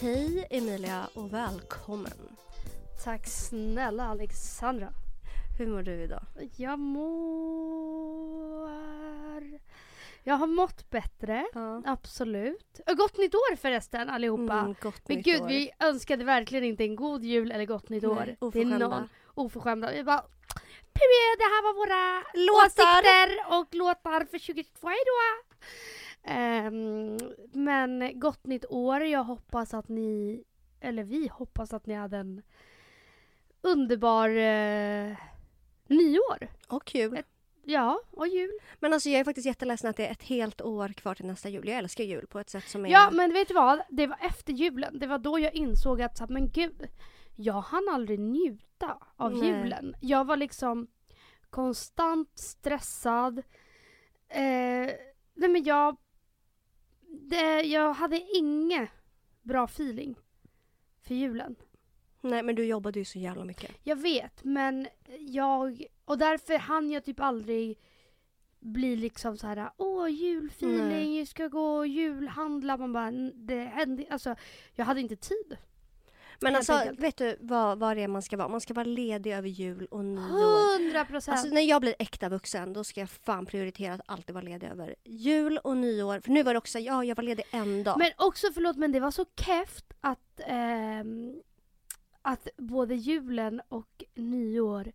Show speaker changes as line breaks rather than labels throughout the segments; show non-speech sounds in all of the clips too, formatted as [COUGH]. Hej Emilia och välkommen.
Tack snälla Alexandra.
Hur mår du idag?
Jag mår... Jag har mått bättre,
Ja.
absolut. Ö, Gott nytt år förresten allihopa.
Mm, gott
Men
nytt
gud,
år.
vi önskade verkligen inte en god jul eller gott nytt
Nej,
år.
Mm, oförskämda.
oförskämda. Vi bara... "Pue, Det här var våra åsikter och låtar för 2022. Hejdå! Ehm, men gott nytt år. Jag hoppas att ni, eller vi hoppas att ni hade en underbar eh, nyår.
Och kul.
Ja, och jul.
Men alltså jag är faktiskt jätteledsen att det är ett helt år kvar till nästa jul. Jag älskar jul på ett sätt som är...
Ja, men vet du vad? Det var efter julen. Det var då jag insåg att, så här, men gud, jag hann aldrig njuta av
Nej.
julen. Jag var liksom konstant stressad. Eh, nej men jag, det, jag hade ingen bra feeling för julen.
Nej men du jobbade ju så jävla mycket.
Jag vet, men jag... Och därför hann jag typ aldrig bli liksom så här, åh julfeeling, jag ska gå och julhandla. Man bara, "N- det hände Alltså, jag hade inte tid.
Men
Helt
alltså
enkelt.
vet du vad, vad det är man ska vara? Man ska vara ledig över jul och nyår.
Hundra procent.
Alltså när jag blir äkta vuxen då ska jag fan prioritera att alltid vara ledig över jul och nyår. För nu var det också, ja jag var ledig en dag.
Men också, förlåt, men det var så keft att, ehm, att både julen och nyår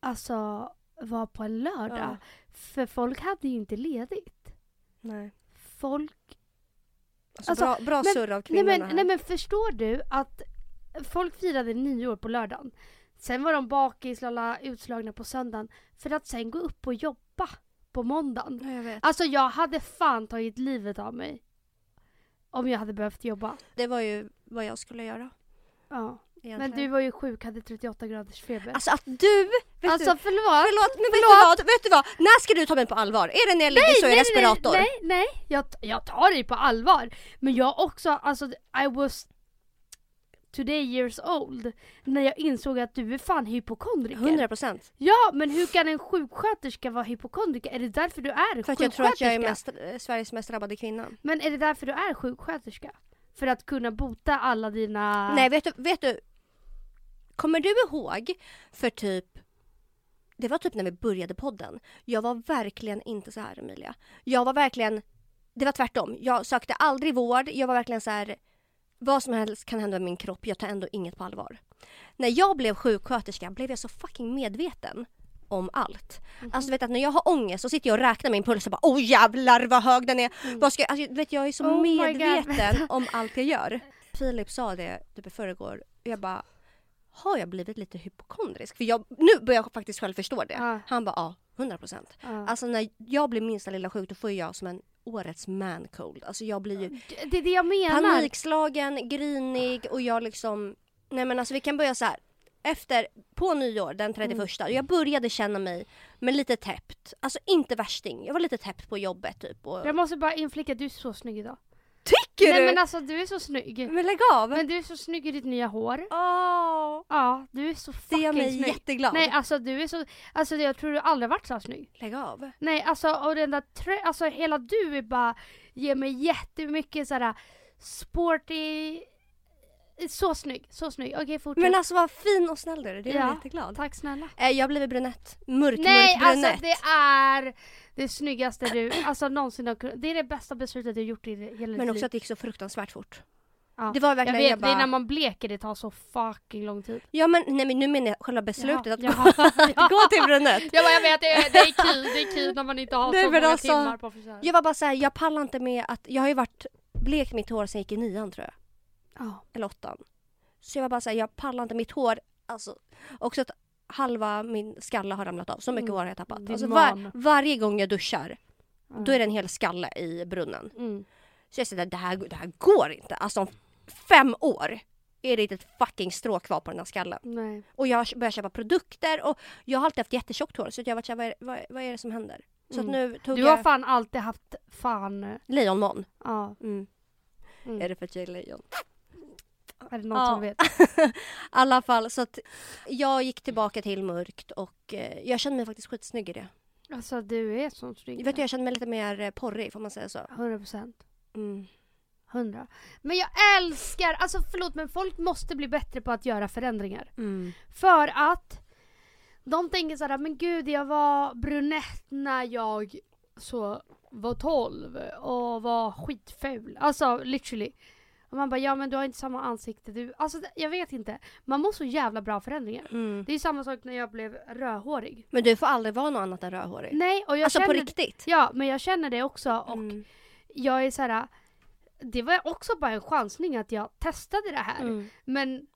alltså var på en lördag.
Ja.
För folk hade ju inte ledigt.
Nej.
Folk
Alltså,
Alltså,
bra bra
men-
surr av
Nej
kvinnorna
men,
här.
nej men förstår du att folk firade nyår på lördagen. Sen var de bakis, lalla, utslagna på söndagen. För att sen gå upp och jobba på måndagen.
Ja, jag vet.
Alltså jag hade fan tagit livet av mig. Om jag hade behövt jobba.
Det var ju vad jag skulle göra.
Ja.
Egentligen.
Men du var ju sjuk, hade 38 graders feber.
Alltså att du... Vet
Alltså
du,
förlåt.
förlåt, men vet du vad? Vet du vad? När ska du ta mig på allvar? Är det när jag ligger så i respirator?
Nej, nej, jag, jag tar dig på allvar. Men jag också, alltså I was today years old när jag insåg att du är fan hypokondriker.
100 procent.
Ja, men hur kan en sjuksköterska vara hypokondriker? Är det därför du är
För att
sjuksköterska?
jag tror att jag är mest, eh, Sveriges mest drabbade kvinna.
Men är det därför du är sjuksköterska? För att kunna bota alla dina...
Nej, vet du, vet du? Kommer du ihåg för typ det var typ när vi började podden. Jag var verkligen inte så här Emilia. Jag var verkligen, det var tvärtom. Jag sökte aldrig vård. Jag var verkligen så här, vad som helst kan hända med min kropp. Jag tar ändå inget på allvar. När jag blev sjuksköterska blev jag så fucking medveten om allt. Alltså du vet att när jag har ångest så sitter jag och räknar min puls och bara oh jävlar vad hög den är.
Mm.
Vad ska jag, alltså, du vet jag är så
Oh my God,
medveten om allt jag gör. Filip sa det typ i förrgår och jag bara har jag blivit lite hypokondrisk? För jag, nu börjar jag faktiskt själv förstå det.
Ja.
Han bara ja, 100 procent.
Ja.
Alltså när jag blir minsta lilla sjuk då får jag som en årets man cold. Alltså jag blir ju
Det- Det är det jag menar.
panikslagen, grinig och jag liksom... Nej men alltså vi kan börja så här. Efter, på nyår den
Mm.
31, jag började känna mig men lite täppt. Alltså inte värsting, jag var lite täppt på jobbet typ. Och...
Jag måste bara inflika, du är så snygg idag.
Tycker
Nej
du?
men alltså du är så snygg.
Men lägg av!
Men du är så snygg i ditt nya hår.
Åh,
Ja, du är så
det
fucking
gör mig
snygg.
jätteglad.
Nej alltså du är så, alltså jag tror du aldrig varit så här snygg.
Lägg av.
Nej alltså och den där trö, alltså hela du är bara, ger mig jättemycket såhär sporty, så snygg, så snygg. Okej fortsätt.
Men alltså vad fin och snäll du är, det gör mig
Ja.
jätteglad.
Tack snälla.
Eh, Jag har blivit brunett, mörk,
Nej
mörk brunett.
alltså det är det snyggaste du alltså någonsin har kunnat, det är det bästa beslutet du gjort i hela ditt
Men
liv.
också att det gick så fruktansvärt fort.
Ja.
Det var
jag
verkligen,
vet,
jag, bara,
det är när man bleker det tar så fucking lång tid.
Ja men nej men nu menar jag själva beslutet [LAUGHS] att
Jaha, [LAUGHS]
gå, gå till brunett.
Jag bara, jag vet, det är, det är kul, det är kul när man inte har
Nej,
så
men
många
alltså,
timmar på frisören.
Jag var bara såhär, jag pallar inte med att, jag har ju varit blekt mitt hår sen jag gick i nian tror jag,
Ja.
eller åttan. Så jag var bara såhär, jag pallar inte mitt hår, alltså också att halva min skalle har ramlat av, så mycket
Mm.
hår har jag tappat.
Din
Alltså, var,
man.
varje gång jag duschar,
Mm.
då är det en hel skalle i brunnen.
Mm.
Så jag säger det här, det här går inte. Alltså om fem år är det inte ett fucking strå kvar på den här skallen.
Nej.
Och jag har börjat köpa produkter och jag har alltid haft jättetjockt hår så att jag har varit såhär, vad, är- vad, vad är det som händer? Så att
Mm.
nu tog
Du har
jag
fan alltid haft fan,
lejonman.
ja.
Mm.
Mm.
Är det för att jag är lejon?
Är det någon
Ja.
som vet?
I alla fall så att jag gick tillbaka till mörkt och eh, jag kände mig faktiskt skitsnygg i det.
Alltså du är så
Jag
snygg.
vet du, jag kände mig lite mer eh, porrig får man säga så.
100%.
Mm.
Hundra. Men jag älskar, alltså förlåt men folk måste bli bättre på att göra förändringar. För att de tänker såhär, men gud jag var brunett när jag så var 12 och var skitful. Alltså literally. Och man bara, ja men du har inte samma ansikte du. Alltså det- jag vet inte. Man mår så jävla bra av förändringar. Det är samma sak när jag blev rödhårig.
Mm. Men du får aldrig vara något annat än rödhårig.
Nej och jag
alltså på
känner,
riktigt.
Ja men jag känner det också och
Mm.
jag är såhär, det var också bara en chansning att jag testade det här.
Mm.
Men,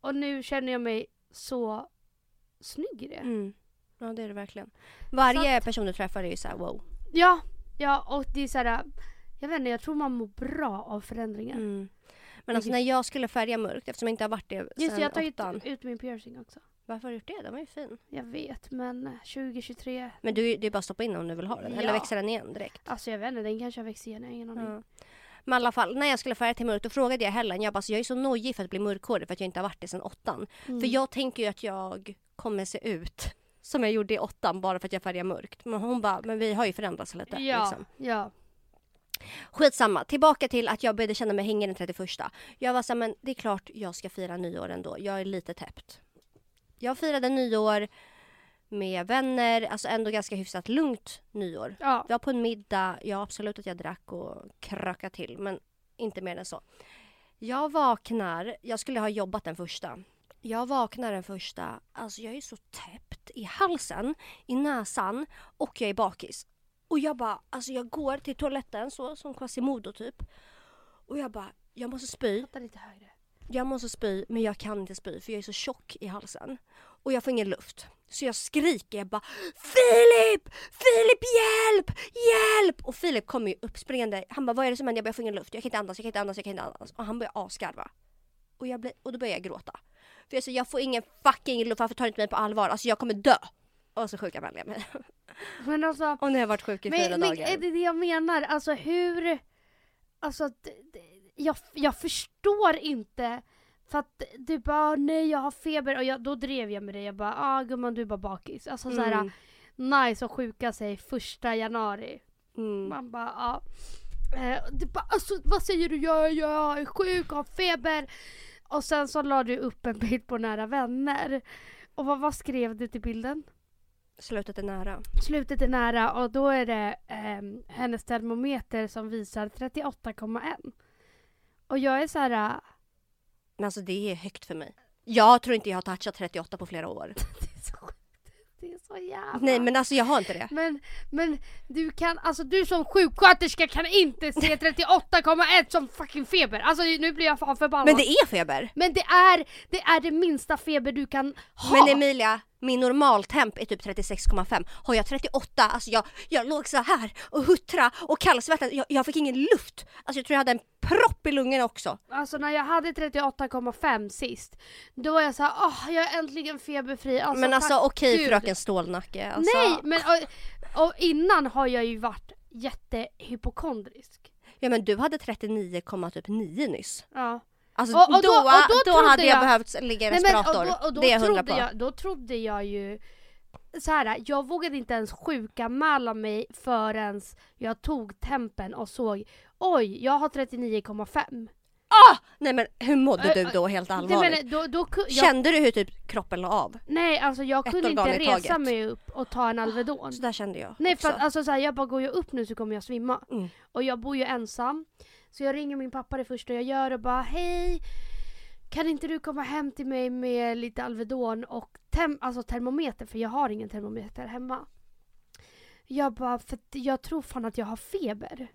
och nu känner jag mig så snygg i det.
Mm. Ja det är det verkligen. Varje
Så att-
person du träffar är ju såhär wow.
Ja, ja och det är så här. Jag vet inte, jag tror man mår bra av förändringar.
Mm. Men alltså när jag skulle färga mörkt eftersom jag inte har varit det
Just
sen
det, jag har tagit
åttan.
ut min piercing också.
Varför har du gjort det? Den var ju fin.
Jag vet, men eh, 2023,
Men du, det är bara att stoppa in om du vill ha den. Eller
Ja.
växa den igen direkt.
alltså jag vet inte, den kanske har växt igen, jag har ingen aning.
Ja. Men i alla fall, när jag skulle färga till mörkt då frågade jag Helen, jag bara så jag är så nojig för att bli mörkhårig för att jag inte har varit det sedan åttan.
Mm.
För jag tänker ju att jag kommer se ut som jag gjorde i åttan bara för att jag färgar mörkt. Men hon bara, men vi har ju förändrats lite.
ja,
Liksom.
ja.
Skitsamma, tillbaka till att jag började känna mig hängig den 31. Jag var såhär, men det är klart jag ska fira nyår ändå. Jag är lite täppt. Jag firade nyår med vänner, alltså ändå ganska hyfsat lugnt nyår.
ja.
Vi var på en middag, ja absolut att jag drack och krökade till men inte mer än så. Jag vaknar, jag skulle ha jobbat den första. Jag vaknar den första, alltså jag är så täppt i halsen, i näsan och jag är bakis. Och jag bara, alltså jag går till toaletten så som Quasimodo typ. Och jag bara, jag måste spy,
Prata lite högre.
jag måste spy men jag kan inte spy för jag är så tjock i halsen. Och jag får ingen luft. Så jag skriker, jag bara Filip! Filip hjälp! Hjälp! Och Filip kommer ju uppspringande. Han bara vad är det som händer? Jag bara jag får ingen luft. Jag kan inte andas, jag kan inte andas, jag kan inte andas. Och han börjar asgarva. Och, jag blir, och då börjar jag gråta. För jag säger jag får ingen fucking luft, varför tar du inte mig på allvar? Alltså jag kommer dö! Och så sjukanmälde jag mig.
Men alltså,
Och nu har jag varit sjuk i fyra
men, men
dagar.
är det det jag menar? Alltså hur, alltså d- d- jag, jag förstår inte. För att du bara nej jag har feber och jag, då drev jag med dig. Jag bara ah gumman du är bara bakis. Alltså så här,
Mm.
nice att sjuka sig första januari.
Mm.
Man bara ja. Eh, Du bara alltså vad säger du? Jag, jag är sjuk, har feber. Och sen så la du upp en bild på nära vänner. Och vad, vad skrev du till bilden?
Slutet är nära.
Slutet är nära och då är det ehm, hennes termometer som visar 38,1. Och jag är så här. eh,
Men alltså det är högt för mig. Jag tror inte jag har touchat 38 på flera år.
[LAUGHS] det är så sjukt. Det är så jävla...
Nej men alltså jag har inte det.
Men, men du kan, alltså du som sjuksköterska kan
[LAUGHS]
inte se 38,1 som fucking feber. Alltså nu blir jag fan förbannad.
Men det är feber.
Men det är, det är det minsta feber du kan ha.
Men Emilia, min normaltemp är typ 36,5. Har jag 38, alltså jag, jag låg så här och huttra och kallsvettades. Jag, jag fick ingen luft. Alltså jag tror jag hade en propp i lungorna också.
Alltså när jag hade 38,5 sist, då var jag såhär, åh jag är äntligen feberfri. Alltså,
men alltså
tack
okej
Gud.
fröken Stålnacke. Alltså,
Nej men och, och innan har jag ju varit jättehypokondrisk.
Ja men du hade 39,9 nyss.
Ja.
Alltså
Och- och då-
då, då,
och då trodde
hade jag,
jag-
behövt ligga i
Nej, men, och
respirator.
då, och då,
det är jag hundra
trodde
på.
jag, då trodde jag ju så här, jag vågade inte ens sjukanmäla mig förrän jag tog tempen och såg oj, jag har 39,5.
Nej men hur mådde
Ö,
du
ö,
då helt
Det
allvarligt?
menar, då, då, ku- jag,
Kände du hur typ kroppen la av?
nej, alltså jag
Ett
kunde
organ
inte
i
resa
taget.
mig upp och ta en Alvedon.
Så där kände jag
Nej för
också.
att alltså så här, jag bara går jag upp nu så kommer jag svimma.
Mm.
Och jag bor ju ensam. Så jag ringer min pappa det första jag gör och bara hej. Kan inte du komma hem till mig med lite Alvedon och tem- alltså termometer för jag har ingen termometer hemma. Jag bara för att jag tror fan att jag har feber.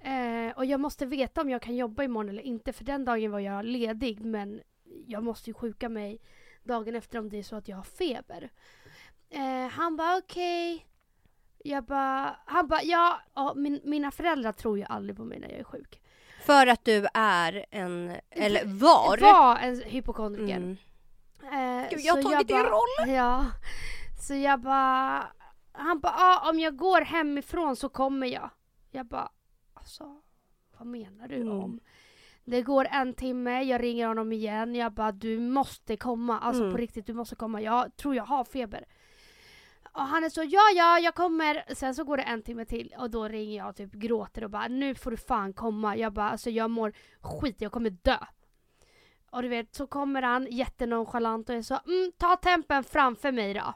Eh, och jag måste veta om jag kan jobba imorgon eller inte för den dagen var jag ledig men jag måste ju sjuka mig dagen efter om det är så att jag har feber. Eh, han bara okej. Jag bara, han bara ja, ja min, mina föräldrar tror ju aldrig på mig när jag är sjuk.
För att du är en, eller var.
Var en hypokondriker.
Mm.
Eh,
Gud, jag har
så
tagit din
bara-
roll.
Ja. Så jag bara, han bara ah, om jag går hemifrån så kommer jag. Jag bara, alltså vad menar du
Mm.
om? Det går en timme, jag ringer honom igen. Jag bara, du måste komma. Alltså
Mm.
på riktigt, du måste komma. Jag tror jag har feber. Och han är så ja ja jag kommer. Sen så går det en timme till och då ringer jag och typ gråter och bara nu får du fan komma. Jag bara alltså jag mår skit, jag kommer dö. Och du vet så kommer han jättenonchalant och är så mm, ta tempen framför mig då.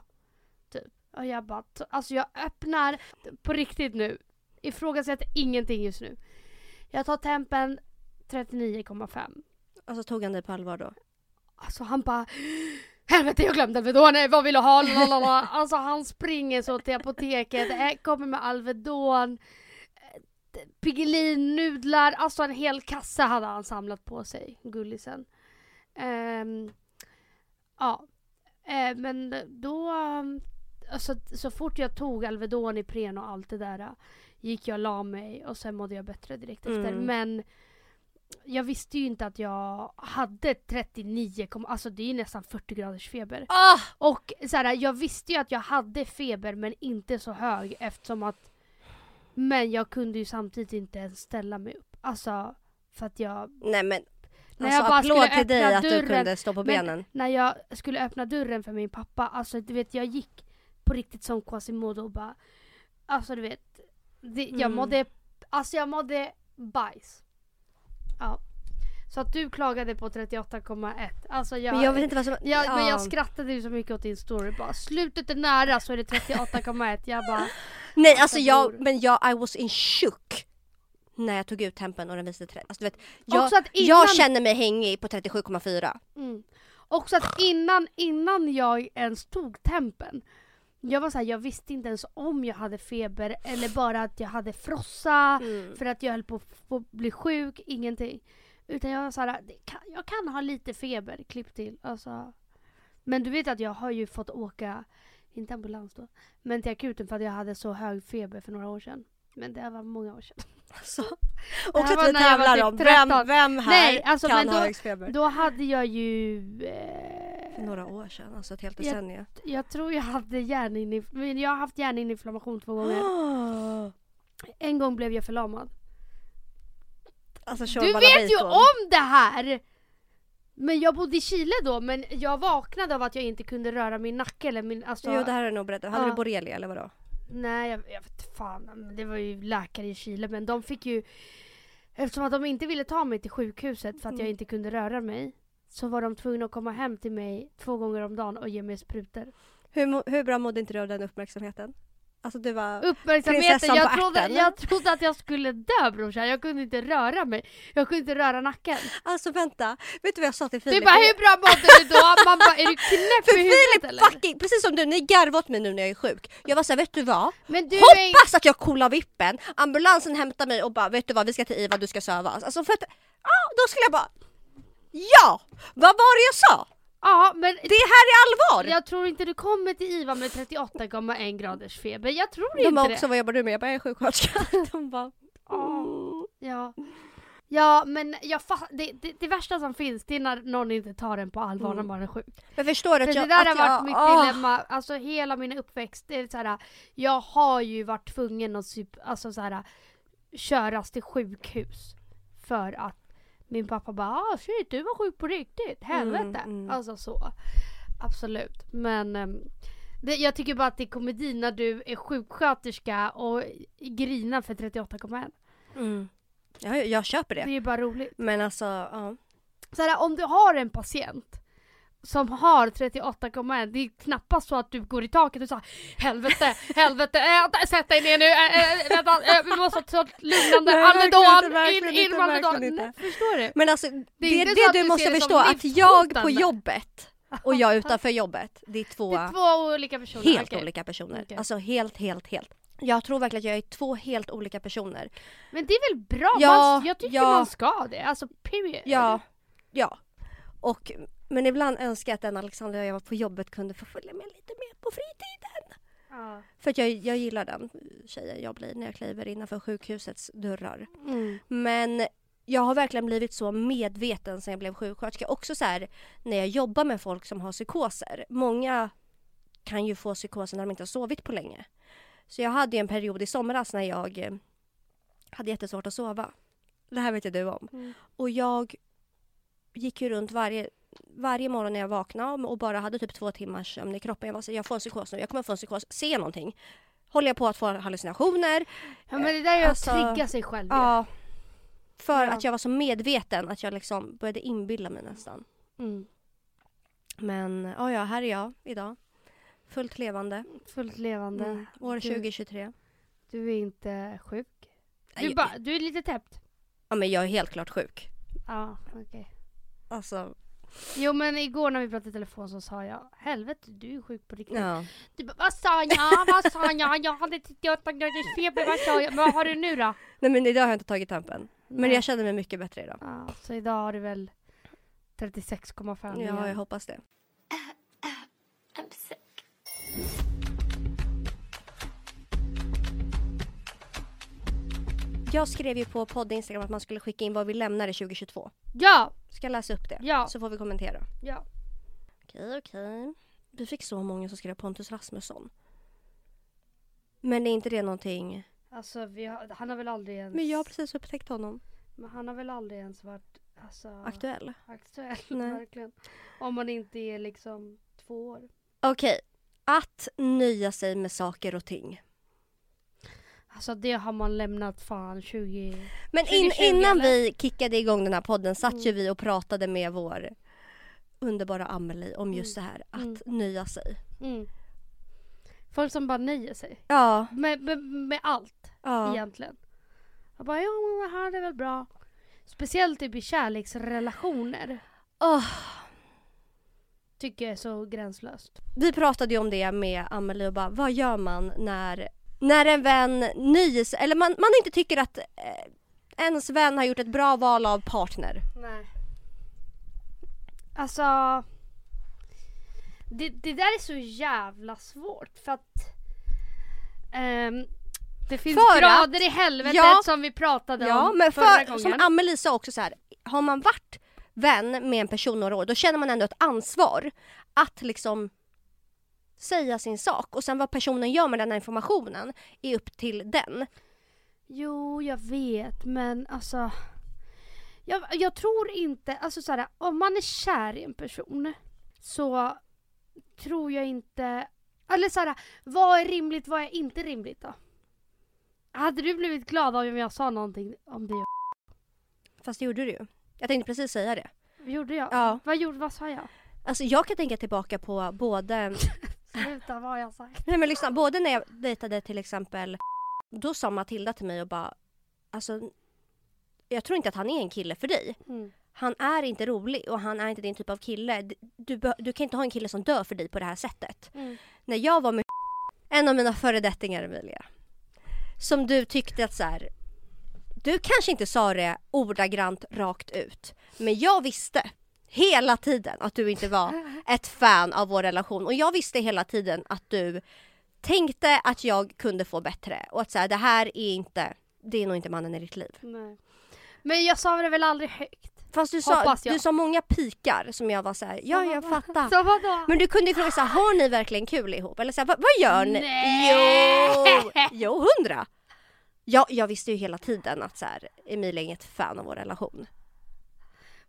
Typ. Och jag bara t- alltså jag öppnar på riktigt nu. Ifrågasätter ingenting just nu. Jag tar tempen 39,5.
Alltså tog han dig på allvar då?
Alltså han bara Helvete jag glömde Alvedon, eh, vad vill du ha? Lalalala. Alltså han springer så till apoteket, eh, kommer med Alvedon, eh, d- Piggelin, nudlar, alltså en hel kassa hade han samlat på sig, gullisen. Ehm, ja, Eh, men då, um, alltså så fort jag tog Alvedon, Ipren och allt det där eh, gick jag och la mig och sen mådde jag bättre direkt efter.
Mm.
Men jag visste ju inte att jag hade 39, alltså det är ju nästan 40 graders feber.
Ah!
Och så här, jag visste ju att jag hade feber men inte så hög eftersom att Men jag kunde ju samtidigt inte ens ställa mig upp. Alltså för att jag
Nej men. Alltså,
jag bara
applåd
skulle
till dig
öppna
att du
dörren,
kunde stå på
men-
benen.
När jag skulle öppna dörren för min pappa, alltså du vet jag gick på riktigt som Quasimodo och bara Alltså du vet det, Jag
Mm.
mådde Alltså jag mådde bajs. Ja. Så att du klagade på 38,1. Alltså jag,
Men jag vet inte vad som...
Ja, men
Ja.
jag skrattade ju så mycket åt din story bara slutet är nära så är det 38,1 jag bara
Nej alltså
jag
jag,
bor.
men jag, I was in shock. När jag tog ut tempen och den visade 30. Alltså du vet. Jag,
också att innan,
jag känner mig hängig på 37,4.
mm, också att innan, innan jag ens tog tempen jag var såhär, jag visste inte ens om jag hade feber eller bara att jag hade frossa för att jag höll på att få bli sjuk, ingenting. Utan jag var såhär, det kan, jag kan ha lite feber, klipp till. Alltså. Men du vet att jag har ju fått åka, inte ambulans då, men till akuten för att jag hade så hög feber för några år sedan. Men det var många år sedan.
Alltså.
Det här
Också
var
att vi
när jag var
tävlar
typ
om vem,
13.
vem här
Nej, alltså,
kan
men
ha
då-
högst feber.
Då hade jag ju... Eh,
För några år sedan, alltså ett helt
Jag-
decennium.
jag tror jag hade hjärninflammation. Men jag har haft hjärninflammation
[GASPS]
två gånger.
Oh.
En gång blev jag förlamad.
Alltså
du
Shorban
vet ju
Abiton.
om det här! Men jag bodde i Chile då, men jag vaknade av att jag inte kunde röra min nacke eller min... Alltså,
Jo det här är nog berättat. Hade
Ja.
du borrelia eller vadå?
Nej, jag, jag vet fan. men Det var ju läkare i Chile, men de fick ju... Eftersom att de inte ville ta mig till sjukhuset för att jag
Mm.
inte kunde röra mig så var de tvungna att komma hem till mig två gånger om dagen och ge mig sprutor.
Hur, mo- hur bra mådde inte du av den uppmärksamheten? Alltså du var...
Uppmärksamheten,
Prinsessan
jag
på
trodde,
ärten.
jag trodde att jag skulle dö brorsan, jag kunde inte röra mig. Jag kunde inte
[LAUGHS]
röra nacken.
Alltså vänta, vet du vad jag sa till
Du
Filip?
bara hur bra mådde du då? Man bara är du knäpp
För
i huvudet eller?
Fucking, precis som du, ni garvar åt mig nu när jag är sjuk. Jag var såhär, vet du vad?
Men du är
Hoppas att jag kolar vippen, ambulansen hämtar mig och bara, vet du vad vi ska till IVA, du ska sövas. Alltså för att, ja då skulle jag bara, ja! Vad var det jag sa?
Ja men
Det här är allvar!
jag tror inte du kommer till IVA med 38,1 graders feber. Jag tror
De
inte
var också,
det.
vad jobbar du med? Jag bara, jag är sjuksköterska. [LAUGHS] De bara,
Ja,
mm. [LAUGHS]
Ja. Ja men jag fa- det, det, det värsta som finns det är när någon inte tar en på allvar när
Mm.
man är sjuk.
Men förstår du
För
att
det
jag...
där har
att
varit
jag,
mitt
ah.
dilemma, alltså hela min uppväxt. Det är så här, jag har ju varit tvungen att typ, alltså så här, köras till sjukhus. För att min pappa bara ah, shit du var sjuk på riktigt, helvete.
mm.
Alltså så. Absolut. Men ehm, det, jag tycker bara att det är komedi när du är sjuksköterska och grinar för 38,1.
Mm. Ja, jag, jag köper
Det är
det.
ju bara roligt.
Men alltså, ja.
Så här, om du har en patient som har 38,1, det är knappast så att du går i taket och säger helvete,
[LAUGHS]
helvete, äh, sätt dig ner nu, äh, äh, vänta, äh, vi måste ha ett sånt lugnande,
Nej, verkligen inte,
Alvedon,
verkligen
in, in
inte,
med Alvedon.
verkligen
Nej,
inte.
Förstår du?
Men alltså, det, det,
inte så att
du
du ser
måste
det som
förstå att jag på
livshotande.
jobbet och
[LAUGHS]
jag utanför jobbet, det är två,
Det är två olika personer.
helt
okej.
olika personer.
Okej.
Alltså helt, helt, helt. Jag tror verkligen att jag är två helt olika personer.
Men det är väl bra?
Ja,
man, jag tycker
ja.
man ska det, alltså period.
Ja, ja. Och, men ibland önskar jag att den Alexandra jag var på jobbet kunde få följa med lite mer på fritiden.
Ja.
För att jag, jag gillar den tjejen jag blir när jag kliver innanför sjukhusets dörrar.
Mm.
Men jag har verkligen blivit så medveten sen jag blev sjuksköterska. Också så här, när jag jobbar med folk som har psykoser. Många kan ju få psykoser när de inte har sovit på länge. Så jag hade ju en period i somras när jag eh, hade jättesvårt att sova. Det här vet ju du om.
Mm.
Och jag gick ju runt varje varje morgon när jag vaknade och bara hade typ två timmars sömn i kroppen. Jag var så jag får en psykos nu, jag kommer få en psykos. Ser jag någonting? Håller jag på att få hallucinationer?
Ja, men det där är ju att
Alltså,
trigga sig själv. ju.
Ja. För
Ja.
att jag var så medveten att jag liksom började inbilla mig nästan.
Mm.
Men ja, ja, här är jag idag. Fullt levande.
Fullt levande.
Mm. År
Du-
2023.
Du är inte sjuk. Du,
Nej,
bara, du är lite täppt.
Ja, men jag är helt klart sjuk.
Ja, okej.
Alltså,
Jo men igår när vi pratade i telefon så sa jag helvete du är sjuk på riktigt.
ja.
Du bara, vad sa jag? Vad sa jag? Jag hade 38 graders feber. Vad sa jag? Vad har du nu då?
Nej, men idag har jag inte tagit tempen. Men
Nej.
jag känner mig mycket bättre idag.
Ja, så idag har du väl 36,5 igen.
Ja, jag hoppas det.
Eh, I'm sick.
Jag skrev ju på podd Instagram att man skulle skicka in vad vi lämnade 2022.
ja,
Ska jag läsa upp det?
Ja.
Så får vi kommentera.
ja.
Okej, okej. Vi fick så många som skrev Pontus Rasmusson. Men är inte det någonting?
Alltså vi har, han har väl aldrig ens...
Men jag har precis upptäckt honom.
men han har väl aldrig ens varit alltså,
Aktuell.
aktuell.
Nej.
Verkligen. Om man inte är liksom två år.
Okej. Att nöja sig med saker och ting.
Alltså det har man lämnat fan 20...
Men in,
2020,
innan
eller?
vi kickade igång den här podden satt ju vi och pratade med vår underbara Amelie om just det här att
Mm.
nöja sig.
Mm. Folk som bara nöjer sig.
Ja,
Med, med, med allt
ja.
egentligen. Jag bara ja men det här är väl bra. Speciellt typ i kärleksrelationer.
Åh,
Tycker jag är så gränslöst.
vi pratade ju om det med Amelie och bara vad gör man när, när en vän nöjer sig eller man, man inte tycker att eh, ens vän har gjort ett bra val av partner.
Nej. Alltså. Det, det där är så jävla svårt för att ehm, det finns
För att-
grader i helvetet
Ja.
som vi pratade
Ja,
om
men
förra
för,
gången.
som Amelie sa också så här, har man varit vän med en person några år då känner man ändå ett ansvar att liksom säga sin sak och sen vad personen gör med den här informationen är upp till den.
Jo, jag vet, men alltså... Jag, jag tror inte... Alltså så här, om man är kär i en person så tror jag inte... Eller så här, vad är rimligt, vad är inte rimligt då? Hade du blivit glad om jag sa någonting om det?
Fast det gjorde du ju. Jag tänkte precis säga det.
Gjorde jag?
Ja.
Vad gjorde, vad sa jag?
Alltså jag kan tänka tillbaka på både
Sluta, vad har
[LAUGHS]
jag sagt?
Nej men lyssna, både när jag dejtade till exempel, då sa Matilda till mig och bara alltså jag tror inte att han är en kille för dig.
Mm.
Han är inte rolig och han är inte din typ av kille. D- Du, bö- du kan inte ha en kille som dör för dig på det här sättet.
Mm.
När jag var med en av mina föredettingar Emilia, som du tyckte att så här, du kanske inte sa det ordagrant rakt ut, men jag visste hela tiden att du inte var ett fan av vår relation och jag visste hela tiden att du tänkte att jag kunde få bättre och att så här, det här är inte, det är nog inte mannen i ditt liv.
Nej. Men jag sa det väl aldrig högt?
Fast du sa,
Hoppas jag.
du sa många pikar som jag var så här, ja jag fattar.
Så vadå?
Men du kunde ju fråga så här, har ni verkligen kul ihop? Eller så här, vad, vad gör ni?
Nej.
Jo! Jo, hundra! Ja, jag visste ju hela tiden att så här, Emilia är inget fan av vår relation.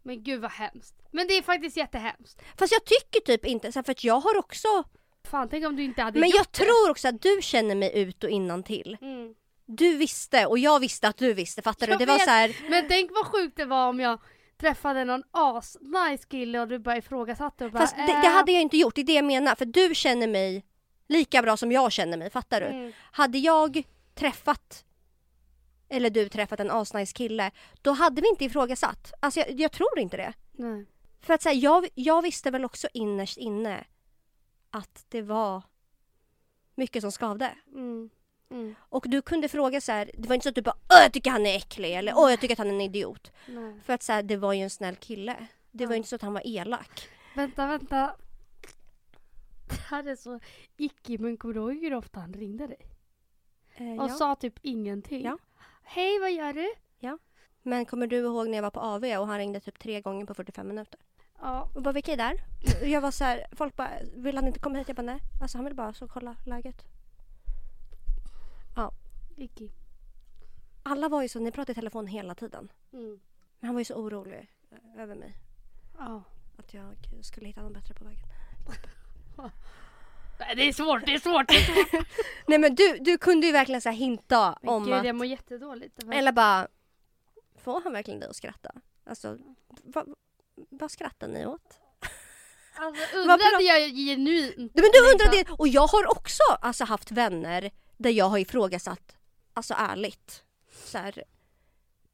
Men gud vad hemskt. Men det är faktiskt jättehemskt.
Fast jag tycker typ inte, så här, för att jag har också,
Fan, tänk om du inte hade
men
gjort
jag tror också att du känner mig ut och innan till.
det. Mm.
Du visste och jag visste att du visste, fattar du?
Jag
Det var
vet.
så här,
Men tänk vad sjukt det var om jag träffade någon as-nice kille och du bara ifrågasatte och bara "Äh,
fast det, det hade jag inte gjort, det är det jag menar. För du känner mig lika bra som jag känner mig, fattar du?
Mm.
Hade jag träffat eller du träffat en asnice kille, då hade vi inte ifrågasatt. Alltså jag, jag tror inte det.
Nej.
För att säga, jag, jag visste väl också innerst inne att det var mycket som skavde.
Mm. Mm.
Och du kunde fråga så här, det var inte så att du bara åh jag tycker han är äcklig eller åh jag tycker att han är en idiot.
Nej.
För att så här, det var ju en snäll kille. Det var
Ja.
ju inte så att han var elak.
Vänta, vänta. [LAUGHS] Det här är så icke, men kommer du ihåg hur ofta han ringde dig?
Eh,
Och
ja.
sa typ ingenting.
Ja.
Hej, vad gör du?
Men kommer du ihåg när jag var på AV och han ringde typ tre gånger på 45 minuter?
Ja.
Och bara, vilka är där? Och Jag var så här, folk bara, vill han inte komma hit? Jag bara, nej. Alltså han vill bara så kolla läget.
Icke.
Alla var ju så, ni pratade i telefon hela tiden.
Mm.
Men han var ju så orolig eh, över mig.
Ja.
Att jag skulle hitta någon bättre på vägen.
Nej, Det är svårt, det är svårt!
Nej men du, du kunde ju verkligen så här hinta
Men
om
gud,
att...
jag mår jättedåligt.
Eller bara... Får han verkligen dig att skratta? Alltså, vad, vad skrattar ni åt?
Alltså,
pratar-
undrade jag genuint. liksom
Nej, men du
Nej,
undrar
så-
det. Och jag har också alltså, haft vänner där jag har ifrågasatt, alltså ärligt. Så här,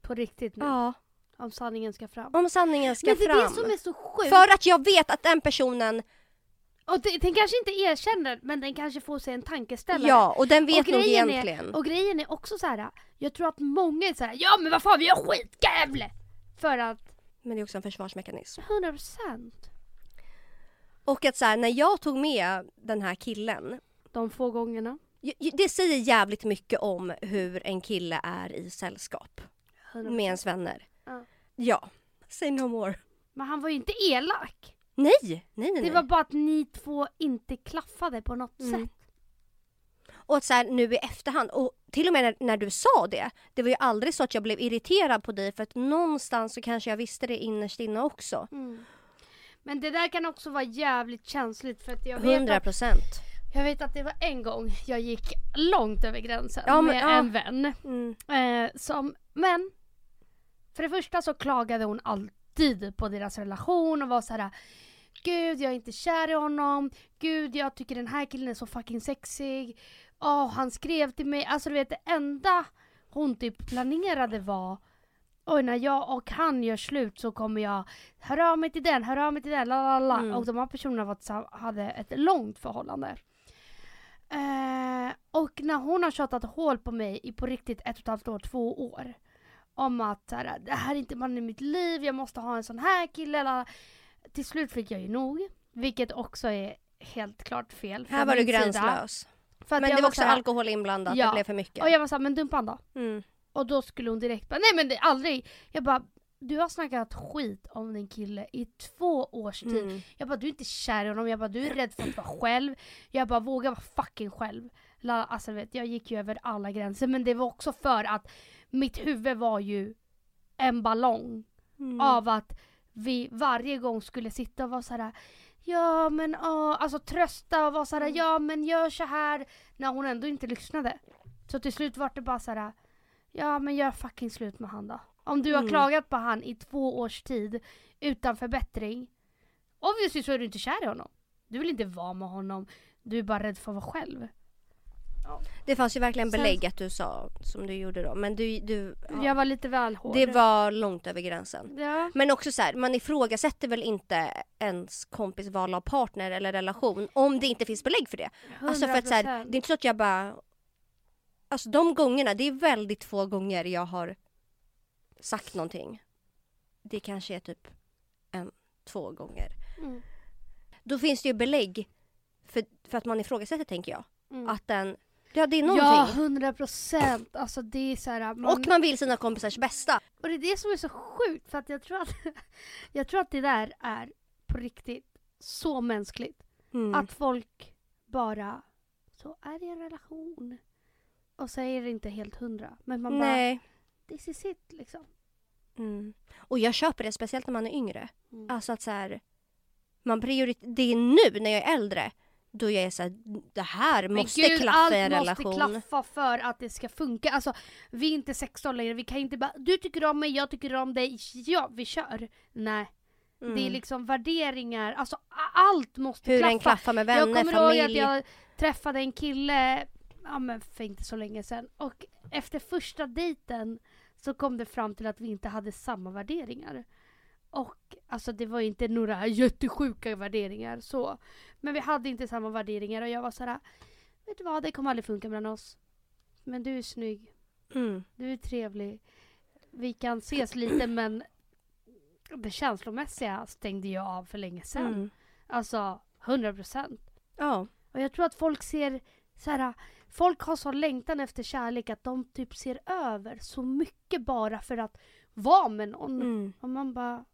På riktigt nu.
ja,
Om sanningen ska fram.
om sanningen ska
Men det är det
fram.
som är så sjukt.
För att jag vet att den personen,
Och den, den kanske inte erkänner, men den kanske får sig en tankeställare.
ja, och den vet
Och
nog
grejen är-
egentligen.
Och grejen är också så här. jag tror att många är så här. ja men vad fan vi gör skitkul! För att,
Men det är också en försvarsmekanism.
100%
Och att så här, när jag tog med den här killen,
de få gångerna.
ju- ju- det säger jävligt mycket om hur en kille är i sällskap
100%.
med ens vänner.
Ja.
Ja, say no more.
Men han var ju inte elak.
Nej, nej, nej. nej.
Det var bara att ni två inte klaffade på något
Mm.
sätt.
Och att så här, nu i efterhand, och till och med när, när du sa det, det var ju aldrig så att jag blev irriterad på dig för att någonstans så kanske jag visste det innerst inne också.
Men det där kan också vara jävligt känsligt för att jag vet,
100
att,
procent.
jag vet att det var en gång jag gick långt över gränsen
Ja, men-
med
ja.
en vän.
Mm.
Eh, som, men, för det första så klagade hon alltid på deras relation och var så här. Gud, jag är inte kär i honom. Gud, jag tycker den här killen är så fucking sexig. Åh, han skrev till mig. Alltså du vet, det enda hon typ planerade var Oj, när jag och han gör slut så kommer jag höra av mig till den, höra av mig till den, la la la.
Mm.
Och de här personerna var tillsamm- hade ett långt förhållande. Eh, och när hon har tjatat hål på mig i på riktigt ett och ett halvt år, två år. Om att så här, det här är inte mannen i mitt liv, jag måste ha en sån här kille. la, la. Till slut fick jag ju nog. Vilket också är helt klart fel.
Här
från
var du
min sida.
gränslös.
För att
Men
jag
det var också
så här-
alkohol inblandat,
Ja.
det blev för mycket.
Och jag var såhär, men dumpa han då.
Mm.
Och då skulle hon direkt bara, nej men det är aldrig. Jag bara, du har snackat skit om din kille i två års tid.
Mm.
Jag bara, du är inte kär i honom. Jag bara, du är rädd för att vara själv. Jag bara, våga vara fucking själv. La- Alltså du vet, jag gick ju över alla gränser. Men det var också för att mitt huvud var ju en ballong
Mm.
av att vi varje gång skulle sitta och vara så här. Ja men åh, alltså trösta och vara så här.
Mm.
ja men gör så här när hon ändå inte lyssnade. Så till slut var det bara så här. ja men gör fucking slut med han då. Om du har
Mm.
klagat på han i två års tid utan förbättring, obviously så är du inte kär i honom. Du vill inte vara med honom, du är bara rädd för att vara själv.
Det fanns ju verkligen
Sen-
belägg att du sa som du gjorde då. Men du, du
Jag
ja.
var lite väl hård.
det var långt över gränsen.
Ja.
Men också så här, man ifrågasätter väl inte ens kompis val av partner eller relation om det inte finns belägg för det. Alltså för att så här, det
100%.
är inte så att jag bara... Alltså de gångerna, det är väldigt få gånger jag har sagt någonting. Det kanske är typ en, två gånger.
Mm.
Då finns det ju belägg för, för att man ifrågasätter tänker jag.
Mm.
Att den, ja det är
Ja,
någonting.
hundra procent. Alltså det är så här, man,
Och man vill sina kompisars bästa.
Och det är det som är så sjukt för att jag tror att, [LAUGHS] jag tror att det där är på riktigt så mänskligt.
Mm.
Att folk bara, så är det i en relation. Och säger det inte helt hundra. Men man
Nej.
bara, this is it liksom.
Mm. Och jag köper det, speciellt när man är yngre.
Mm.
Alltså att så här, man prioriterar, det är nu när jag är äldre då jag är så här, det här måste
Men gud,
klaffa i en
allt
relation.
måste klaffa för att det ska funka. Alltså vi är inte 16 längre, vi kan inte bara, du tycker om mig, jag tycker om dig, ja vi kör. Nej,
Mm.
det är liksom värderingar, alltså a- allt måste
Hur den
klaffa.
klaffar med vänner,
jag kommer
familj.
ihåg att jag träffade en kille ja, men för inte så länge sedan och efter första dejten så kom det fram till att vi inte hade samma värderingar. Och alltså det var ju inte några jättesjuka värderingar så. Men vi hade inte samma värderingar och jag var såhär, vet du vad det kommer aldrig funka mellan oss. Men du är snygg,
Mm.
du är trevlig. Vi kan ses lite men det känslomässiga stängde jag av för länge sedan.
Mm.
Alltså 100 procent.
Ja.
Och jag tror att folk ser så här, folk har sån längtan efter kärlek att de typ ser över så mycket bara för att vara med någon.
Mm.
Och man bara...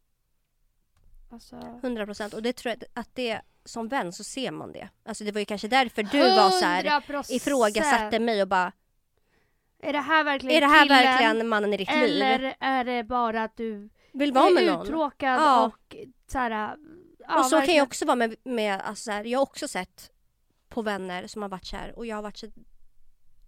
Alltså...
100 procent. Och det tror jag att det, som vän så ser man det. Alltså det var ju kanske därför du var så här
100%.
ifrågasatte mig och bara,
Är det här verkligen
är det här
killen?
verkligen mannen i ditt liv?
Eller är det bara att du
Vill vara med
är
någon?
uttråkad
Ja.
och så här, ja,
och så kan
verkligen.
jag också vara med, med alltså så här, jag har också sett på vänner som har varit kär och jag har varit så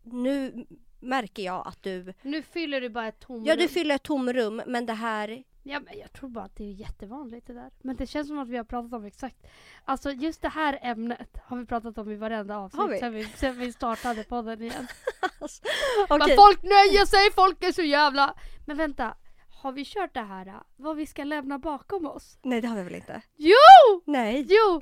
nu märker jag att du,
Nu fyller du bara ett tomrum.
ja du fyller ett tomrum men det här, [LAUGHS]
Ja, men jag tror bara att det är jättevanligt det där. Men det känns som att vi har pratat om exakt... Alltså just det här ämnet har vi pratat om i varenda
Har vi?
avsnitt sen vi, sen vi startade podden igen.
[LAUGHS] alltså, okej,
Men folk nöjer sig, folk är så jävla... Men vänta, har vi kört det här äh, vad vi ska lämna bakom oss?
nej det har vi väl inte?
Jo!
Nej,
Jo!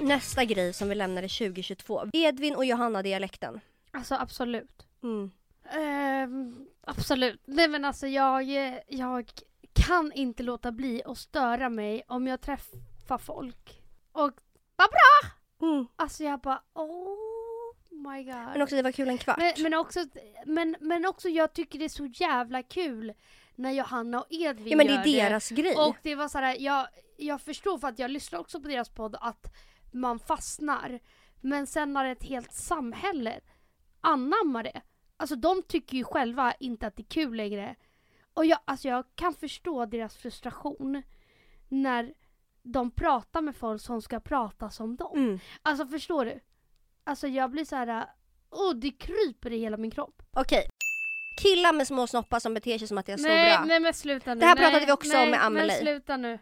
nästa grej som vi lämnade 2022, Edvin och Johanna-dialekten.
Alltså absolut.
Mm.
Ehm, absolut. Nej men alltså jag, jag kan inte låta bli att störa mig om jag träffar folk. Och
Mm.
alltså jag bara oh my god.
Men också det var kul en kvart.
Men, men, också, men, men också jag tycker det är så jävla kul när Johanna och Edvin
ja men det
gör
är deras grej.
Och det var så här, jag, jag förstår för att jag lyssnar också på deras podd att man fastnar. Men sen när ett helt samhälle anammar det. Alltså de tycker ju själva inte att det är kul längre. Och jag, alltså jag kan förstå deras frustration när de pratar med folk som ska prata som dem.
Mm.
Alltså förstår du? Alltså jag blir så här. Åh, det kryper i hela min kropp.
Okej. Killar med små snoppar som beter sig som att de är stora.
Nej, nej men sluta nu.
Det här
nej,
pratade vi också
nej,
om med Amelie.
Men sluta nu.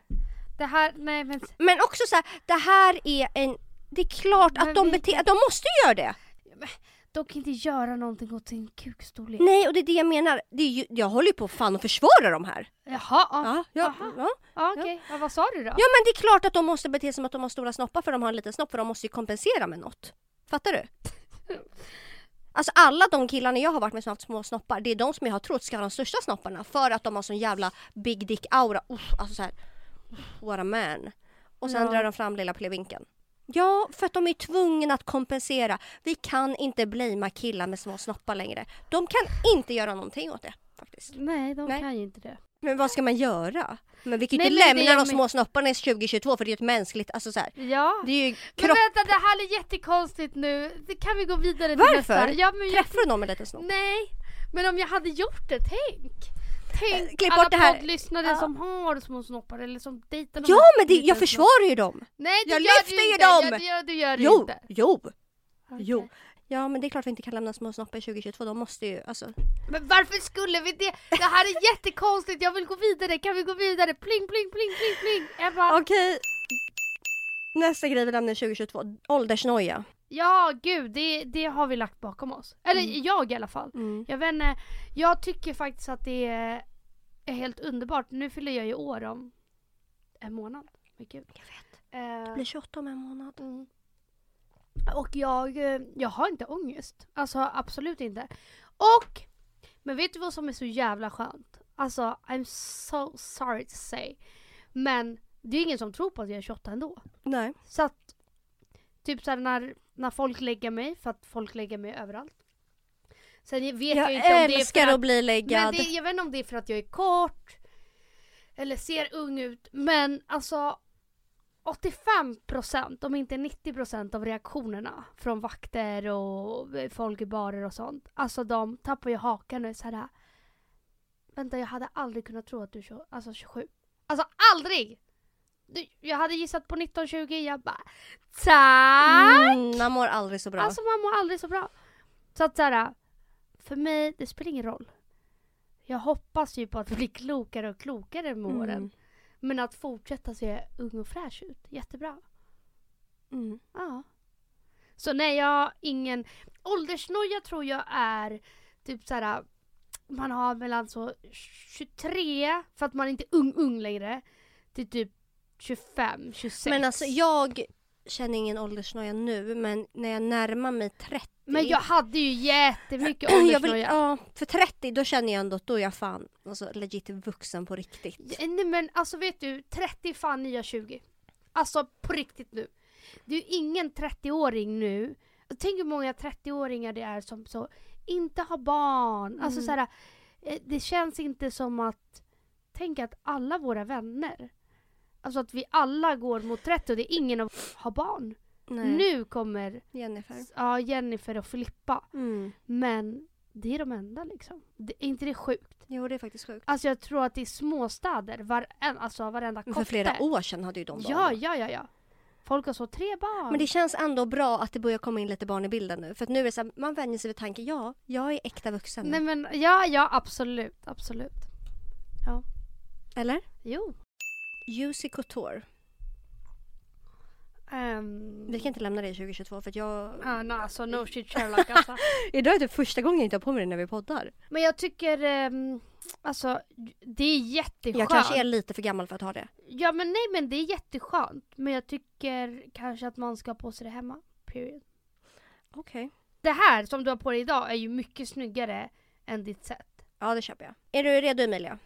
Det här, nej men
Men också så här, det här är en... Det är klart att
Men
de,
vilken-
bete- de måste ju göra det!
De kan inte göra någonting åt sin kukstorlek.
Nej, och det är det jag menar. Det är ju, jag håller ju på fan att försvara dem här.
Jaha, ja,
Ja, ja,
Aha.
ja.
ja, okej. Ja, vad sa du då?
ja, men det är klart att de måste bete sig som att de har stora snoppar för de har en liten snopp för de måste ju kompensera med något. Fattar
[LAUGHS]
du? Alltså alla de killarna jag har varit med som har haft små snoppar, det är de som jag har trott ska ha de största snopparna för att de har sån jävla big dick aura. Uff, alltså såhär, what a man. Och sen
Ja.
drar de fram lilla plevinken. Ja, för att de är tvungna att kompensera. Vi kan inte blamea killar med små snoppar längre. De kan inte göra någonting åt det faktiskt.
Nej, de
Nej.
kan ju inte det.
Men vad ska man göra? Men vi kan ju
Nej,
inte
men det
lämna
är
de
med-
små snopparna i 2022 för det är ju ett mänskligt, alltså så här.
Ja.
Det är ju
Men
kropp...
vänta, det här är jättekonstigt nu. Det kan vi gå vidare till
Varför?
nästa? Ja, men jag...
Träffar du någon med en liten snopp?
Nej, men om jag hade gjort det, tänk.
Eh,
Tänk
klipp
alla
bort det här.
poddlyssnare
Ja.
som har små snoppar eller som dejtar de
Ja
här
men det,
liten
jag försvarar ju dem!
snopp- Nej, det
jag
gör
lyfter
du
ju
inte.
dem.
Ja, det gör, du gör det
Jo,
inte.
jo, jo.
Okej.
Ja men det är klart vi inte kan lämna små snoppar i 2022, de måste ju alltså.
Men varför skulle vi det? Det här är [LAUGHS] jättekonstigt. Jag vill gå vidare. Kan vi gå vidare? Pling, pling, pling, pling, pling. Ebba.
Okej. Nästa grej vi lämnar i 2022, åldersnoja.
Ja, gud, det, det har vi lagt bakom oss. Eller jag i alla fall.
Mm.
Jag vet inte, jag tycker faktiskt att det är, är helt underbart. Nu fyller jag ju år om en månad. Men gud.
Jag vet.
Eh,
Blir 28 om en månad.
mm. Och jag, eh, jag har inte ångest. Alltså absolut inte. Och, men vet du vad som är så jävla skönt? Alltså, I'm so sorry to say. Men det är ingen som tror på att jag är 28 ändå.
Nej.
Så att, typ såhär när, när folk lägger mig, för att folk lägger mig överallt. Sen vet jag,
Jag,
inte om det är
älskar
för
att bli
men
läggad.
det, jag vet inte om det är för att jag är kort eller ser ung ut, men alltså 85% om inte 90% av reaktionerna från vakter och folk i barer och sånt, alltså de tappar ju hakan och är så här. Vänta jag hade aldrig kunnat tro att du är tjo- alltså 27. Alltså aldrig! Du, jag hade gissat på 19-20, jag bara tack!
Mm, man mår aldrig så bra.
Alltså man mår aldrig så bra. Så att såhär, för mig, det spelar ingen roll. Jag hoppas ju på att bli klokare och klokare med
Mm.
åren. Men att fortsätta se ung och fräsch ut, jättebra.
Mm.
Ja. Så nej, jag har ingen... Åldersnoja tror jag är typ såhär, man har mellan så 23, för att man är inte ung ung längre, till typ 25, 26.
Men alltså jag känner ingen åldersnoja nu men när jag närmar mig 30
Men jag hade ju jättemycket
[CLEARS THROAT] jag
åldersnoja.
vill, ja, för 30 då känner jag ändå att då är jag fan alltså, legit vuxen på riktigt.
Ja, Nej men alltså vet du, 30 är fan nya 20. Alltså på riktigt nu. Du är ingen 30-åring nu. Tänk hur många 30-åringar det är som så inte har barn. Alltså
Mm.
så här, eh, det känns inte som att, tänk att alla våra vänner, alltså att vi alla går mot 30 och det är ingen av har barn.
Nej.
Nu kommer
Jennifer.
ja, Jennifer och Filippa,
Mm.
men Det är de enda liksom. Det, är inte det sjukt?
Jo, det är faktiskt sjukt.
Alltså jag tror att i småstäder, varen, alltså varenda
Men
kotte.
för flera år sedan hade ju de barn.
Ja, ja, ja, ja. Folk har så tre barn.
Men det känns ändå bra att det börjar komma in lite barn i bilden nu. För att nu är det så här, man vänjer sig vid tanken, ja, jag är äkta vuxen.
Nej men ja, ja absolut, absolut.
Eller?
Jo.
Juicy Couture.
Um,
Vi kan inte lämna det 2022 för att jag...
Ja, nej, alltså no shit
[LAUGHS]
Sherlock alltså.
Idag är det typ första gången jag inte har på mig det när vi poddar.
Men jag tycker, ehm, alltså det är jätteskönt.
Jag kanske är lite för gammal för att ha det.
Ja men nej men det är jätteskönt. Men jag tycker kanske att man ska ha på sig det hemma. Period.
Okej.
Det här som du har på dig idag är ju mycket snyggare än ditt set.
Ja, det köper jag. Är du redo Emilia?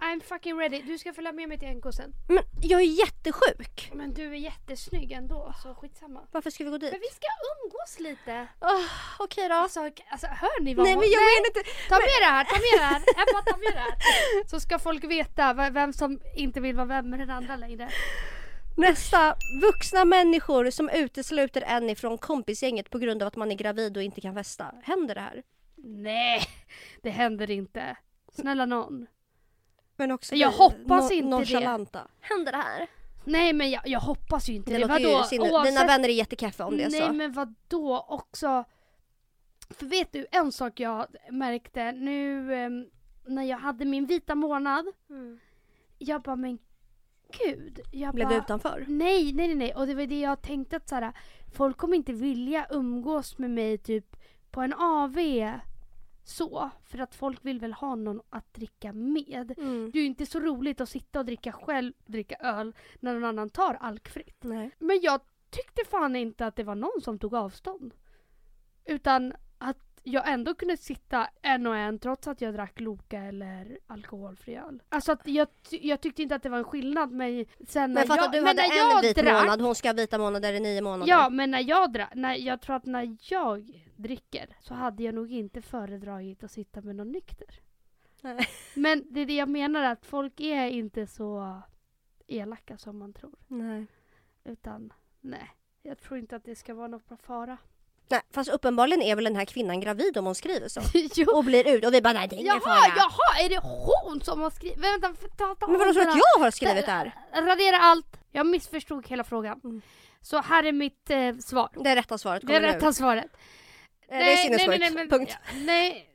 I'm fucking ready. Du ska följa med mig till NK sen.
Men jag är jättesjuk!
Men du är jättesnygg ändå så skitsamma.
Varför ska vi gå dit?
Men vi ska umgås lite.
Åh, Okej då.
Alltså, alltså hör ni vad
Nej
hon-
men jag menar inte...
Ta med det här, ta med det här!
[LAUGHS]
Ebba, ta med det här! Så ska folk veta v- vem som inte vill vara vän med den andra längre.
Nästa. Vuxna människor som utesluter en ifrån kompisgänget på grund av att man är gravid och inte kan festa. Händer det här?
Nej, det händer inte. Snälla någon.
Men också
Jag
vi,
hoppas inte det.
nonchalanta. det. Händer det här?
Nej men jag, jag hoppas ju inte
Det,
det.
låter ju
Vadå?
sin... Dina vänner är jättekeffa om det är
Nej
så.
men vadå också? För vet du en sak jag märkte nu ehm, när jag hade min vita månad. Jag bara men gud. Jag
Blev
bara,
du utanför?
Nej, nej, nej, nej. Och det var det jag tänkte att såhär, folk kommer inte vilja umgås med mig typ på en AV så. För att folk vill väl ha någon att dricka med.
Mm.
Det är ju inte så roligt att sitta och dricka själv, dricka öl, när någon annan tar alkfritt.
Nej.
Men jag tyckte fan inte att det var någon som tog avstånd. Utan att jag ändå kunde sitta en och en trots att jag drack Loka eller alkoholfri öl. Alltså att jag, ty- jag tyckte inte att det var en skillnad men sen när
Men fatta
jag,
du
men
hade
när
en
jag
vit
drack,
månad, hon ska ha vita månader i nio månader.
Ja men när jag drack, när, jag tror att när jag dricker så hade jag nog inte föredragit att sitta med någon nykter.
Nej.
Men det är det jag menar att folk är inte så elaka som man tror.
Nej.
Utan nej, jag tror inte att det ska vara någon fara.
Nej, fast uppenbarligen är väl den här kvinnan gravid om hon skriver så.
[LAUGHS] jo.
Och blir ut och vi bara nej det är ingen
Jaha,
fara.
jaha, är det hon som har skrivit? Vänta, för- ta, ta
Men vadå tror du
om den
att
här.
jag har skrivit det här?
Radera allt. Jag missförstod hela frågan.
Mm.
Så här är mitt eh, svar.
Det är rätta svaret
Det
kommer nu.
rätta svaret.
Eh, Det är sinnessjukt.
men-
Punkt.
Ja, nej.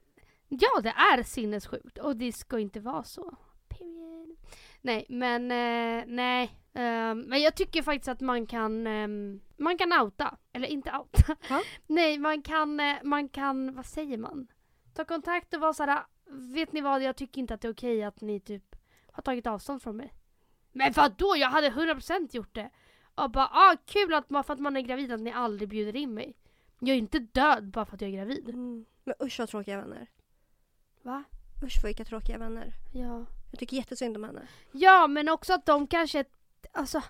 ja, det är sinnessjukt och det ska inte vara så. Period. Nej, men eh, nej. Ehm, men jag tycker faktiskt att man kan, ehm, man kan outa. Eller inte outa.
Ja.
[LAUGHS] Nej, man kan, eh, man kan, vad säger man? Ta kontakt och vara såhär, vet ni vad, jag tycker inte att det är okej att ni typ har tagit avstånd från mig. Men då? jag hade 100% gjort det. Och bara, ah kul att man, för att man är gravid att ni aldrig bjuder in mig. Jag är inte död bara för att jag är gravid.
Mm. Men usch vad tråkiga vänner.
Va?
Usch vad vilka tråkiga vänner.
Ja.
Jag tycker jättesynd om henne.
Ja, men också att de kanske... Alltså,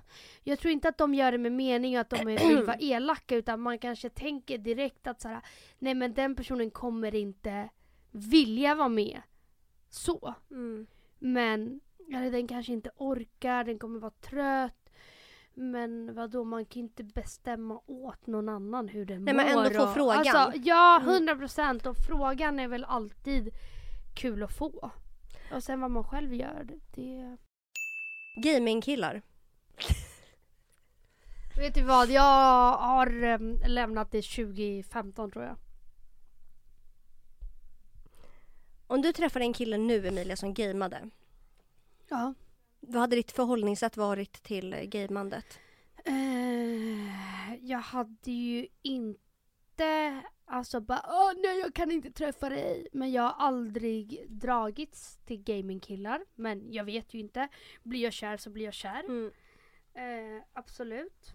jag tror inte att de gör det med mening och att [CLEARS THROAT] de är- vill vara elaka utan man kanske tänker direkt att så här, nej men den personen kommer inte vilja vara med. Så.
Mm.
Men eller, den kanske inte orkar, den kommer vara trött. Men vadå, man kan inte bestämma åt någon annan hur den
Nej,
mår.
men ändå få
och-
frågan.
Alltså, ja,
Mm.
100 procent. Och frågan är väl alltid kul att få. Och sen vad man själv gör, det...
Gamingkillar.
Vet du vad, jag har em, lämnat det 2015 tror jag.
Om du träffade en kille nu Emilia som gameade.
Ja.
Vad hade ditt förhållningssätt varit till eh, gamandet?
Eh, jag hade ju inte, alltså bara åh nej jag kan inte träffa dig. Men jag har aldrig dragits till gamingkillar. Men jag vet ju inte, blir jag kär så blir jag kär.
Mm.
Eh, absolut.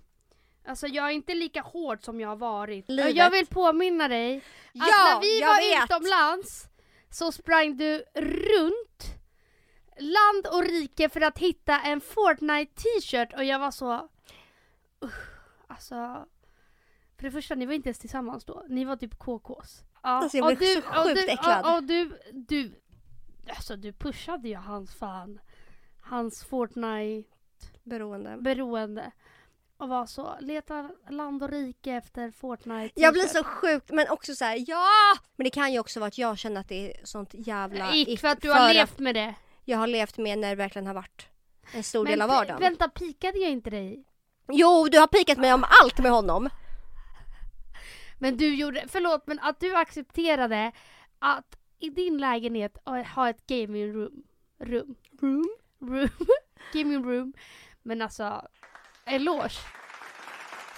Alltså jag är inte lika hård som jag har varit.
Livet.
Jag vill påminna dig
Ja,
att när vi
jag
var
vet!
utomlands så sprang du runt land och rike för att hitta en Fortnite t-shirt och jag var så... Uff, alltså... För det första, ni var inte ens tillsammans då. Ni var typ KKs. Ja,
Alltså, jag
och
blev
du-
så
och
sjukt
du,
äcklad.
Och, och du, du... Alltså du pushade ju hans fan... Hans Fortnite
Beroende.
beroende. och vara så. Leta land och rike efter Fortnite.
Jag blir så sjukt, men också så här, ja! Men det kan ju också vara att jag känner att det är sånt jävla
Ick,
ick
för att du har
att
levt med det.
Jag har levt med när det verkligen har varit en stor
Men
del av
p-
vardagen.
Vänta, pikade jag inte dig?
Jo, du har pikat mig om allt med honom.
Men du gjorde, förlåt men att du accepterade att i din lägenhet ha- ha ett gaming room. Rum. Mm.
Room?
room. [LAUGHS] gaming room. Men alltså, eloge.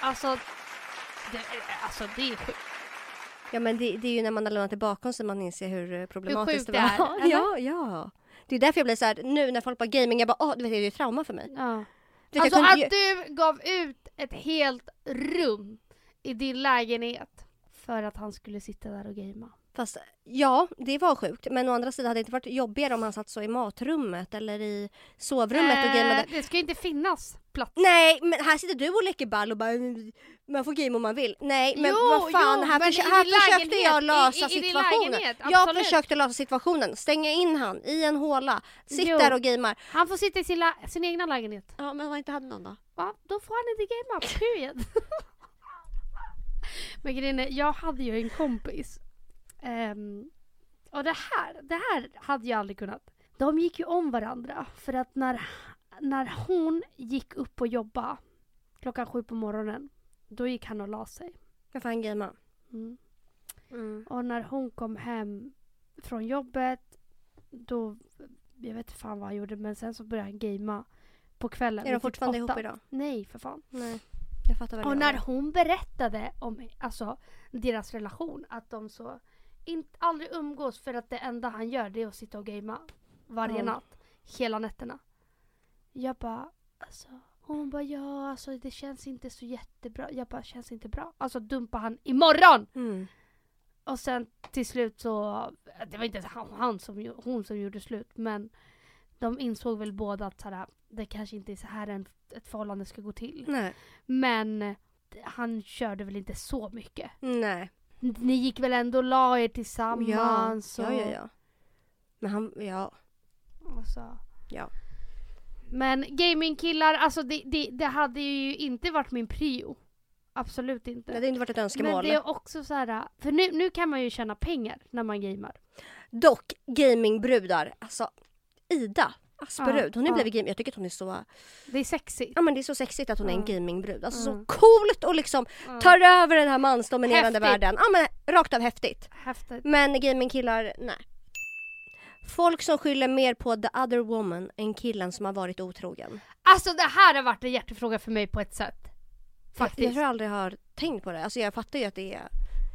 Alltså, det, är- alltså det är sjukt.
Ja men det, det är ju när man har lämnat det bakom sig man inser hur eh, problematiskt
sjukt
det
det är,
var.
eller?
ja, ja. Det är därför jag blir så här, nu när folk bara gaming, jag bara åh, du vet det är ju ett trauma för mig.
Ja.
Du Vet,
Alltså
jag kunde,
att du gav ut ett helt rum i din lägenhet för att han skulle sitta där och gamea.
ju- fast, ja, det var sjukt. Men å andra sidan hade det inte varit jobbigare om han satt så i matrummet eller i sovrummet och gameade.
Eh, det ska ju inte finnas plats.
Nej, men här sitter du och leker ball och bara man får game om man vill. Nej, men
Jo,
vad fan,
jo,
här,
men
försö-
i din
här försökte
lägenhet,
jag lösa
i- i- i din
situationen.
lägenhet,
jag
absolut.
försökte lösa situationen, stänga in han i en håla, sitt
Jo.
där och gamar.
Han får sitta i sin, lä- sin egna lägenhet.
Ja, men var inte han någon då?
Va? Då får han inte gamea, period. [LAUGHS] Men grejen är, jag hade ju en kompis. Ehm, och det här, det här hade jag aldrig kunnat. De gick ju om varandra för att när, när hon gick upp och jobba klockan sju på morgonen, då gick han och la sig.
Ja, för han gamar.
Mm. Och när hon kom hem från jobbet, då, jag vet inte fan vad han gjorde, men sen så började han gamea på kvällen.
Är
vid
de
typ
fortfarande ihop
åtta.
idag?
Nej, för fan.
Nej, jag fattar väl.
Och när hon berättade om alltså, deras relation, att de så inte, aldrig umgås för att det enda han gör det är att sitta och gamea varje
Ja.
natt, hela nätterna. Jag bara, alltså, hon bara ja, alltså det känns inte så jättebra. Jag bara, känns inte bra. Alltså dumpa han imorgon!
Mm.
Och sen till slut så, det var inte ens han, han som, gjo- hon som gjorde slut men de insåg väl båda att såhär, det kanske inte är så här en, ett förhållande ska gå till.
Nej.
Men han körde väl inte så mycket.
Nej.
Ni gick väl ändå och la er tillsammans?
ja, ja,
och-
ja. Men han, ja.
Och så.
Ja.
Men gamingkillar, alltså det, det, det hade ju inte varit min prio. Absolut
Det
inte.
hade inte varit ett
Men
önskemål.
det är också så här, för nu, nu kan man ju tjäna pengar när man gamer.
Dock, gamingbrudar. Alltså, Ida Asperud,
Ja,
hon har
ja.
blivit gaming. Jag tycker att hon är så
Det är sexigt.
Ja men det är så sexigt att hon är en
Ja.
gamingbrud. Alltså
Mm.
så coolt och liksom
Ja.
tar över den här mansdominerande
Häftigt.
världen. Ja men rakt av häftigt.
Häftigt.
Men gamingkillar, nej. Folk som skyller mer på the other woman än killen som har varit otrogen.
Alltså det här har varit en hjärtefråga för mig på ett sätt.
Jag,
Faktiskt.
jag tror jag aldrig har tänkt på det. Alltså jag fattar ju att det är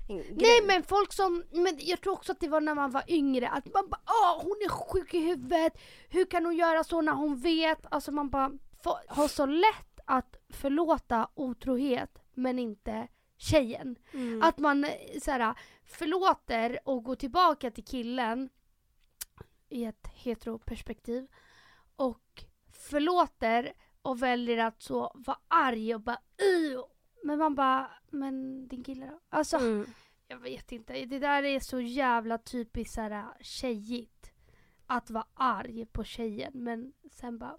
en grej.
Nej men folk som, men jag tror också att det var när man var yngre att man bara åh hon är sjuk i huvudet, hur kan hon göra så när hon vet? Alltså man bara få- har så lätt att förlåta otrohet men inte tjejen.
Mm.
Att man eh, såhär förlåter och går tillbaka till killen i ett heteroperspektiv och förlåter och väljer att så vara arg och bara "Ugh." men man bara, men din kille då? Alltså
Mm.
jag vet inte. Det där är så jävla typiskt såhär tjejigt. Att vara arg på tjejen men sen bara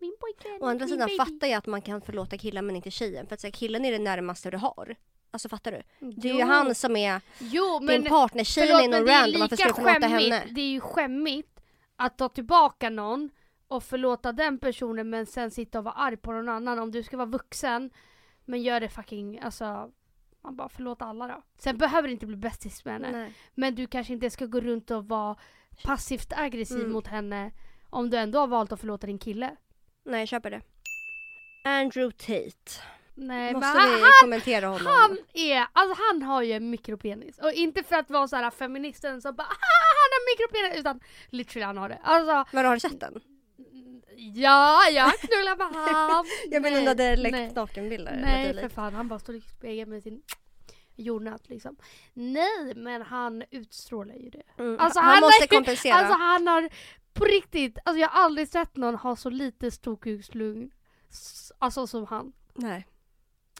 min pojkvän,
Å andra
min
sidan
baby.
fattar jag att man kan förlåta killen men inte tjejen. För att så här, killen är det närmaste du har. Alltså fattar du? Det är ju
Jo.
han som är
Jo men,
din partner. Tjejen
förlåt,
är
Typ, men
någon
det är
random. Varför ska
lika
du förlåta
skämmigt-
henne?
Det är ju skämmigt att ta tillbaka någon och förlåta den personen men sen sitta och vara arg på någon annan. Om du ska vara vuxen men gör det fucking, alltså man bara förlåt alla då. Sen behöver det inte bli bästis med henne.
Nej.
Men du kanske inte ska gå runt och vara passivt aggressiv
Mm.
mot henne om du ändå har valt att förlåta din kille.
Nej, jag köper det. Andrew Tate.
Nej, men
Måste
han,
vi kommentera honom?
han är, alltså han har ju en mikropenis. Och inte för att vara så här feministen som bara ah, han har mikropenis utan literally han har det. Alltså
Men har du sett den?
ja, jag knullar med han.
[LAUGHS] Jag menar hon hade
nej.
läckt nakenbilder.
Nej
eller
för
dylikt.
fan, han bara står i spegeln med sin jordnöt liksom. Nej men han utstrålar ju det.
Mm.
Alltså,
han,
han
måste
har-
kompensera.
Alltså han har på riktigt, alltså jag har aldrig sett någon ha så lite storkukslugn. s- Alltså som han.
Nej.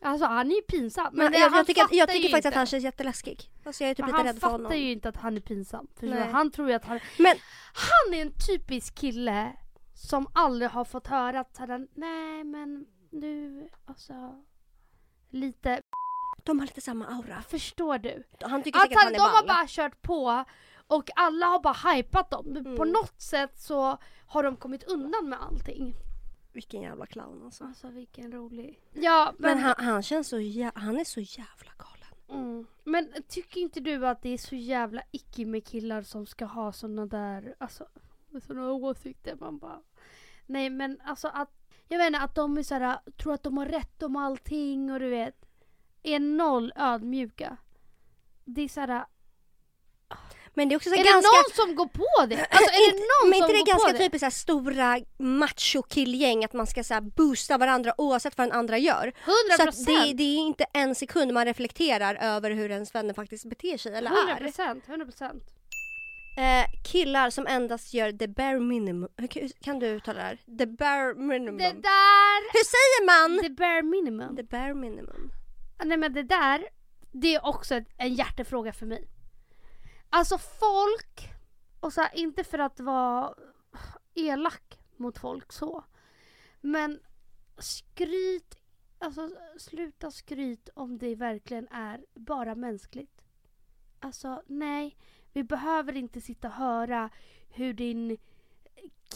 Alltså han är ju pinsam. Men,
Men
det,
jag,
han
jag tycker, att, jag
fattar
tycker
ju
faktiskt
inte.
att han känns jätteläskig. Alltså jag är typ
Men
lite
han
rädd för
fattar
honom.
ju inte att han är pinsam. För
Nej.
han tror ju att han...
Men-
Han är en typisk kille som aldrig har fått höra att såhär, nej men nu, alltså, lite,
De har lite samma aura.
förstår du?
Han tycker
Att
säkert
han,
att
de
han är
har
ball.
bara kört på och alla har bara hypat dem. Men På
Mm.
något sätt så har de kommit undan med allting.
Vilken jävla clown alltså.
Alltså vilken rolig. Ja, men,
Men han, han känns så jä... han är så jävla galen.
Mm. Men tycker inte du att det är så jävla icke med killar som ska ha såna där, alltså, såna åsikter? Man bara... Nej men alltså att, jag vet inte, att de är såhär, tror att de har rätt om allting och du vet, är noll ödmjuka. Det är såhär,
Men det är också så
är
här
det
ganska... Eh,
någon som går på det? Alltså är det
Inte-
någon
men inte
som
det
går
är ganska
på det?
typiskt så här stora machokillgäng att man ska så här boosta varandra oavsett vad den andra gör. Så
Hundra
att det,
procent!
det är inte en sekund man reflekterar över hur ens vänner faktiskt beter sig eller
Hundra
är.
procent, hundra procent.
Eh, killar som endast gör the bare minimum. Hur kan- hur- Kan du uttala det här? The bare minimum.
Det där,
Hur säger man?
the bare minimum.
The bare minimum.
Ah, Nej men det där, det är också ett- en hjärtefråga för mig. Alltså folk, och så här, inte för att vara elak mot folk så. Men skryt, alltså sluta skryt om det verkligen är bara mänskligt. Alltså nej, vi behöver inte sitta och höra hur din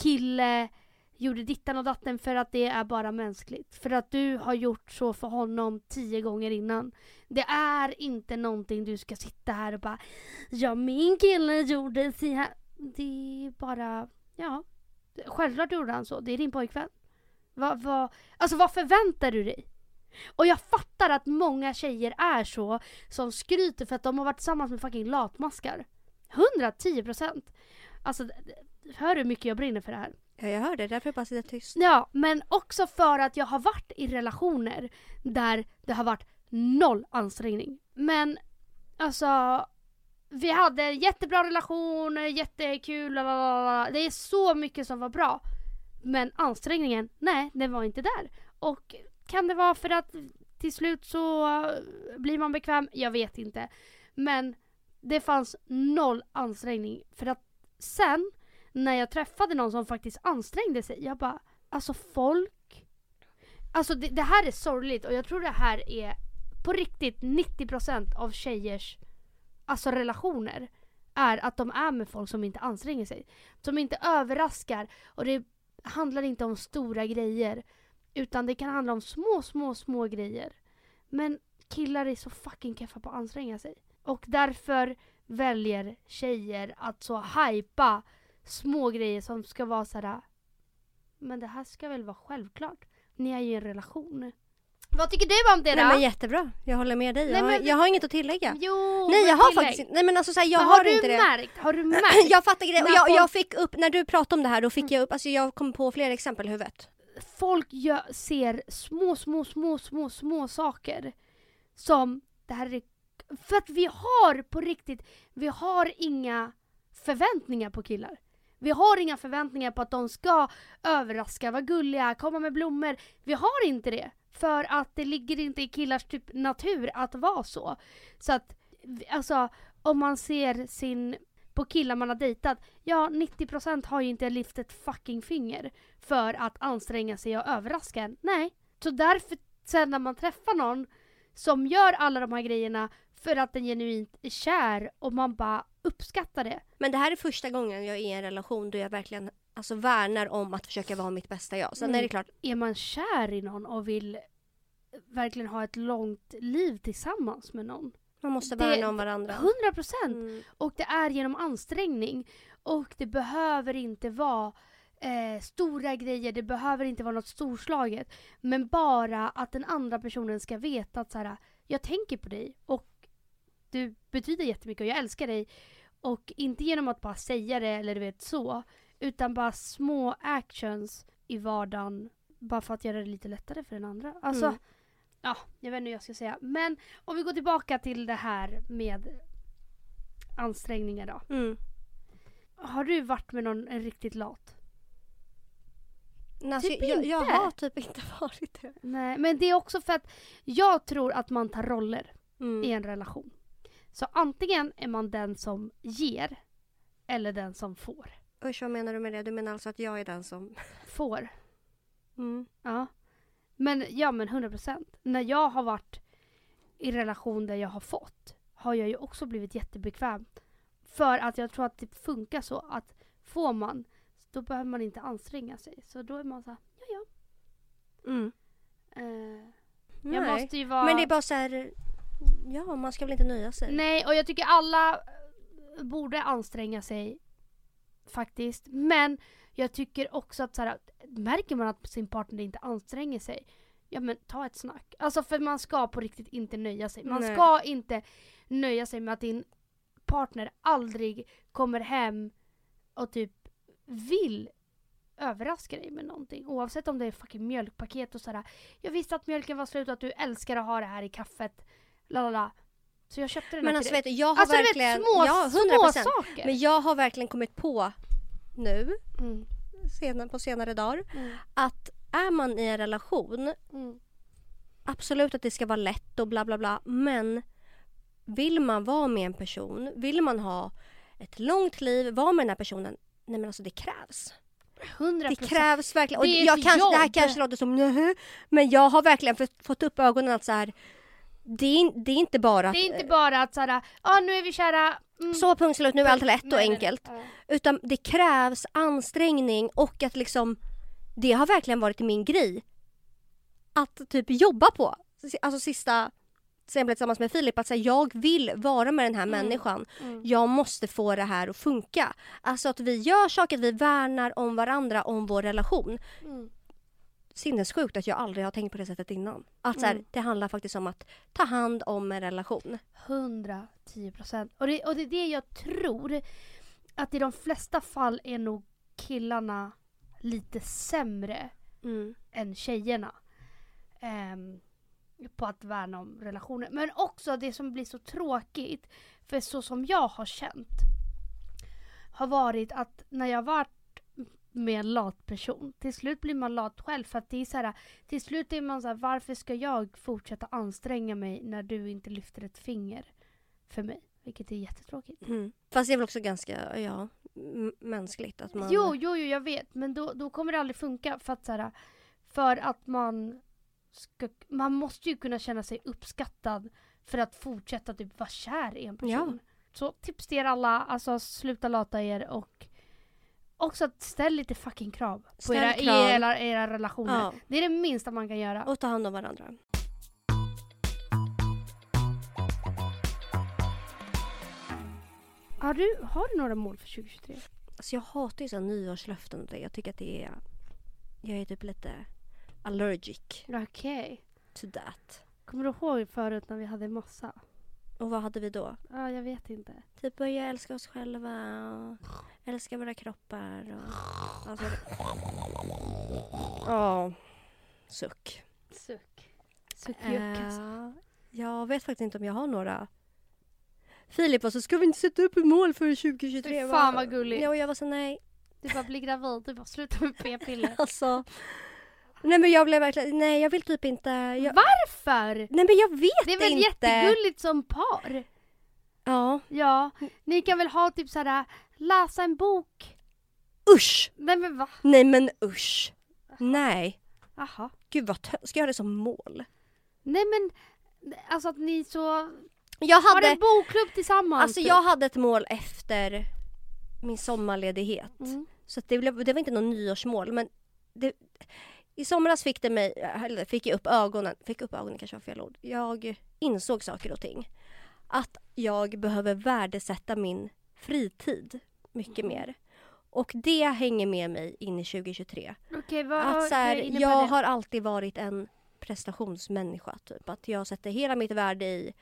kille gjorde dittan och datten för att det är bara mänskligt. För att du har gjort så för honom tio gånger innan. Det är inte någonting du ska sitta här och bara Ja min kille gjorde så här. Det är bara, ja. Självklart gjorde han så, det är din pojkvän. Vad, vad, alltså vad förväntar du dig? Och jag fattar att många tjejer är så som skryter för att de har varit tillsammans med fucking latmaskar. 110 procent. Alltså, hör du hur mycket jag brinner för det här?
Ja, jag hör det. Därför jag bara sitter tyst.
Ja, men också för att jag har varit i relationer där det har varit noll ansträngning. Men alltså, vi hade en jättebra relation, jättekul, bla, bla, bla, bla. det är så mycket som var bra. Men ansträngningen, nej, den var inte där. Och kan det vara för att till slut så blir man bekväm? Jag vet inte. Men det fanns noll ansträngning. För att sen när jag träffade någon som faktiskt ansträngde sig, jag bara Alltså folk. Alltså det, det här är sorgligt och jag tror det här är på riktigt 90% av tjejers alltså relationer är att de är med folk som inte anstränger sig. Som inte överraskar och det handlar inte om stora grejer utan det kan handla om små, små, små grejer. Men killar är så fucking keffa på att anstränga sig. Och därför väljer tjejer att så hypa små grejer som ska vara såhär men det här ska väl vara självklart? Ni är ju i en relation. Vad tycker du om det då?
Nej, men jättebra. Jag håller med dig. Jag,
Nej,
har,
men-
jag har inget att tillägga.
Jo,
Nej
men
jag har
tillägg.
faktiskt inte, nej men alltså så här, jag
Men
har,
har du
inte det. [CLEARS THROAT]
märkt? Har du märkt? Mm.
Jag fattar grejen och
När
jag,
folk-
jag fick upp, när du pratade om det här då fick jag upp, alltså jag kom på flera exempel i huvudet.
Folk gör, ser små, små, små, små, små saker som det här är... För att vi har på riktigt, vi har inga förväntningar på killar. Vi har inga förväntningar på att de ska överraska, vara gulliga, komma med blommor. Vi har inte det. För att det ligger inte i killars typ natur att vara så. Så att, alltså, om man ser sin, på killar man har dejtat, ja 90% har ju inte lyft ett fucking finger för att anstränga sig och överraska en. Nej. Så därför, sen när man träffar någon som gör alla de här grejerna för att den genuint är kär och man bara uppskattar det.
Men det här är första gången jag är i en relation då jag verkligen alltså, värnar om att försöka vara mitt bästa jag. Sen
Mm.
är det klart,
är man kär i någon och vill verkligen ha ett långt liv tillsammans med någon.
man måste
Det-
värna om varandra.
100 procent!
Mm.
Och det är genom ansträngning. Och det behöver inte vara eh, stora grejer, det behöver inte vara något storslaget. Men bara att den andra personen ska veta att så här, jag tänker på dig och du betyder jättemycket och jag älskar dig. Och inte genom att bara säga det eller du vet så. Utan bara små actions i vardagen. Bara för att göra det lite lättare för den andra. Alltså,
Mm.
ja, jag vet inte hur jag ska säga. Men om vi går tillbaka till det här med ansträngningar då.
Mm.
Har du varit med någon en riktigt lat?
Men Alltså,
Typ
jag, jag
inte.
har typ inte [LAUGHS] varit det.
Nej, men det är också för att jag tror att man tar roller i
Mm.
en relation. Så antingen är man den som ger eller den som får.
Usch vad menar du med det? Du menar alltså att jag är den som...
Får.
Mm.
Ja. Men ja men 100%. När jag har varit i relation där jag har fått har jag ju också blivit jättebekväm. För att jag tror att det funkar så att får man då behöver man inte anstränga sig. Så då är man så här,
Mm.
eh,
Nej.
jag måste ju vara...
Men det är bara så här, ja man ska väl inte nöja sig.
Nej, och jag tycker alla eh, borde anstränga sig faktiskt. Men jag tycker också att så här, märker man att sin partner inte anstränger sig, ja men ta ett snack. Alltså för man ska på riktigt inte nöja sig. Man
Nej.
ska inte nöja sig med att din partner aldrig kommer hem och typ vill överraska dig med någonting. Oavsett om det är fucking mjölkpaket och sådär. Jag visste att mjölken var slut och att du älskar att ha det här i kaffet. La la la. Så jag köpte den
Men
här
alltså
till dig.
vet du, jag har
Alltså du
verkligen,
vet små,
ja,
små
100%.
saker.
Men jag har verkligen kommit på nu,
Mm,
senare, på senare dagar,
mm,
att är man i en relation,
mm.
absolut att det ska vara lätt och bla bla bla, men vill man vara med en person, vill man ha ett långt liv, vara med den här personen, nej men alltså det krävs.
100%.
Det krävs verkligen. Och
Det är
jag
ett
kanske, det här
jobb.
kanske låter som "Nähä", men jag har verkligen fått- fått upp ögonen att så här, det, är, in- det är inte bara att
Det är inte bara att såhär, ja nu är vi kära. Mm.
så punkt slut, nu är allt lätt och
Nej, nej,
enkelt.
nej.
Utan det krävs ansträngning och att liksom det har verkligen varit min grej. Att typ jobba på. Alltså sista sen jag blev tillsammans med Filip att säga jag vill vara med den här
Mm.
människan.
Mm.
Jag måste få det här att funka. Alltså att vi gör saker, att vi värnar om varandra, om vår relation.
Mm.
Sinnessjukt att jag aldrig har tänkt på det sättet innan. Att så här,
Mm.
det handlar faktiskt om att ta hand om en relation.
110 procent. Och det, och det är det jag tror att i de flesta fall är nog killarna lite sämre än tjejerna. ehm, på att värna om relationer. Men också det som blir så tråkigt, för så som jag har känt, har varit att när jag varit med en lat person, till slut blir man lat själv för att det är så här, till slut är man så här, varför ska jag fortsätta anstränga mig när du inte lyfter ett finger för mig? Vilket är jättetråkigt.
Mm. Fast det är väl också ganska ja, m- mänskligt att man...
Jo, jo, jo, jag vet. Men då, då kommer det aldrig funka för att, så här, för att man ska, man måste ju kunna känna sig uppskattad för att fortsätta typ vara kär i en person. Så tips till er alla, alltså sluta lata er och också att ställ lite fucking krav på
Ställ
era, i
krav.
era, era relationer.
Ja,
Det är det minsta man kan göra.
och ta hand om varandra.
Har du, har du några mål för 2023?
Alltså jag hatar ju så här nyårslöften och det. Jag tycker att det är... Jag är typ lite allergic
Okej.
to that.
Kommer du ihåg förut när vi hade massa?
Och vad hade vi då?
Ja, jag vet inte.
Typ börja älska oss själva och älska våra kroppar och... Alltså... Ja. Suck.
Suck. Suck juck, alltså.
Eh, jag vet faktiskt inte om jag har några. Filip var så, ska vi inte sätta upp ett mål för 2023?
Fy
Jag
fan
bara-
vad gulligt.
Ja, och jag var så nej.
Du bara blir gravid, du bara slutar med
[LAUGHS]
p-piller.
Alltså. Nej men jag blev verkligen, nej jag vill typ inte. Jag,
Varför?
nej men jag vet
Det är väl
inte.
jättegulligt som par?
Ja.
Ja, ni kan väl ha typ såhär, läsa en bok?
Usch!
Nej men va?
Nej men usch. Nej.
Jaha.
Gud vad tö- Ska jag ha det som mål?
Nej men, alltså att ni så,
Jag
har
hade,
en bokklubb tillsammans.
alltså
typ.
jag hade ett mål efter min sommarledighet.
Mm.
Så att det, blev, det var inte något nyårsmål men det, i somras fick det mig, eller fick jag upp ögonen, fick upp ögonen kanske var fel ord. Jag insåg saker och ting. Att jag behöver värdesätta min fritid mycket
Mm.
mer. Och det hänger med mig in i 2023.
Okej, vad
att så Alltså, här,
vad innebär
jag
det?
har alltid varit en prestationsmänniska. Typ. Att jag sätter hela mitt värde i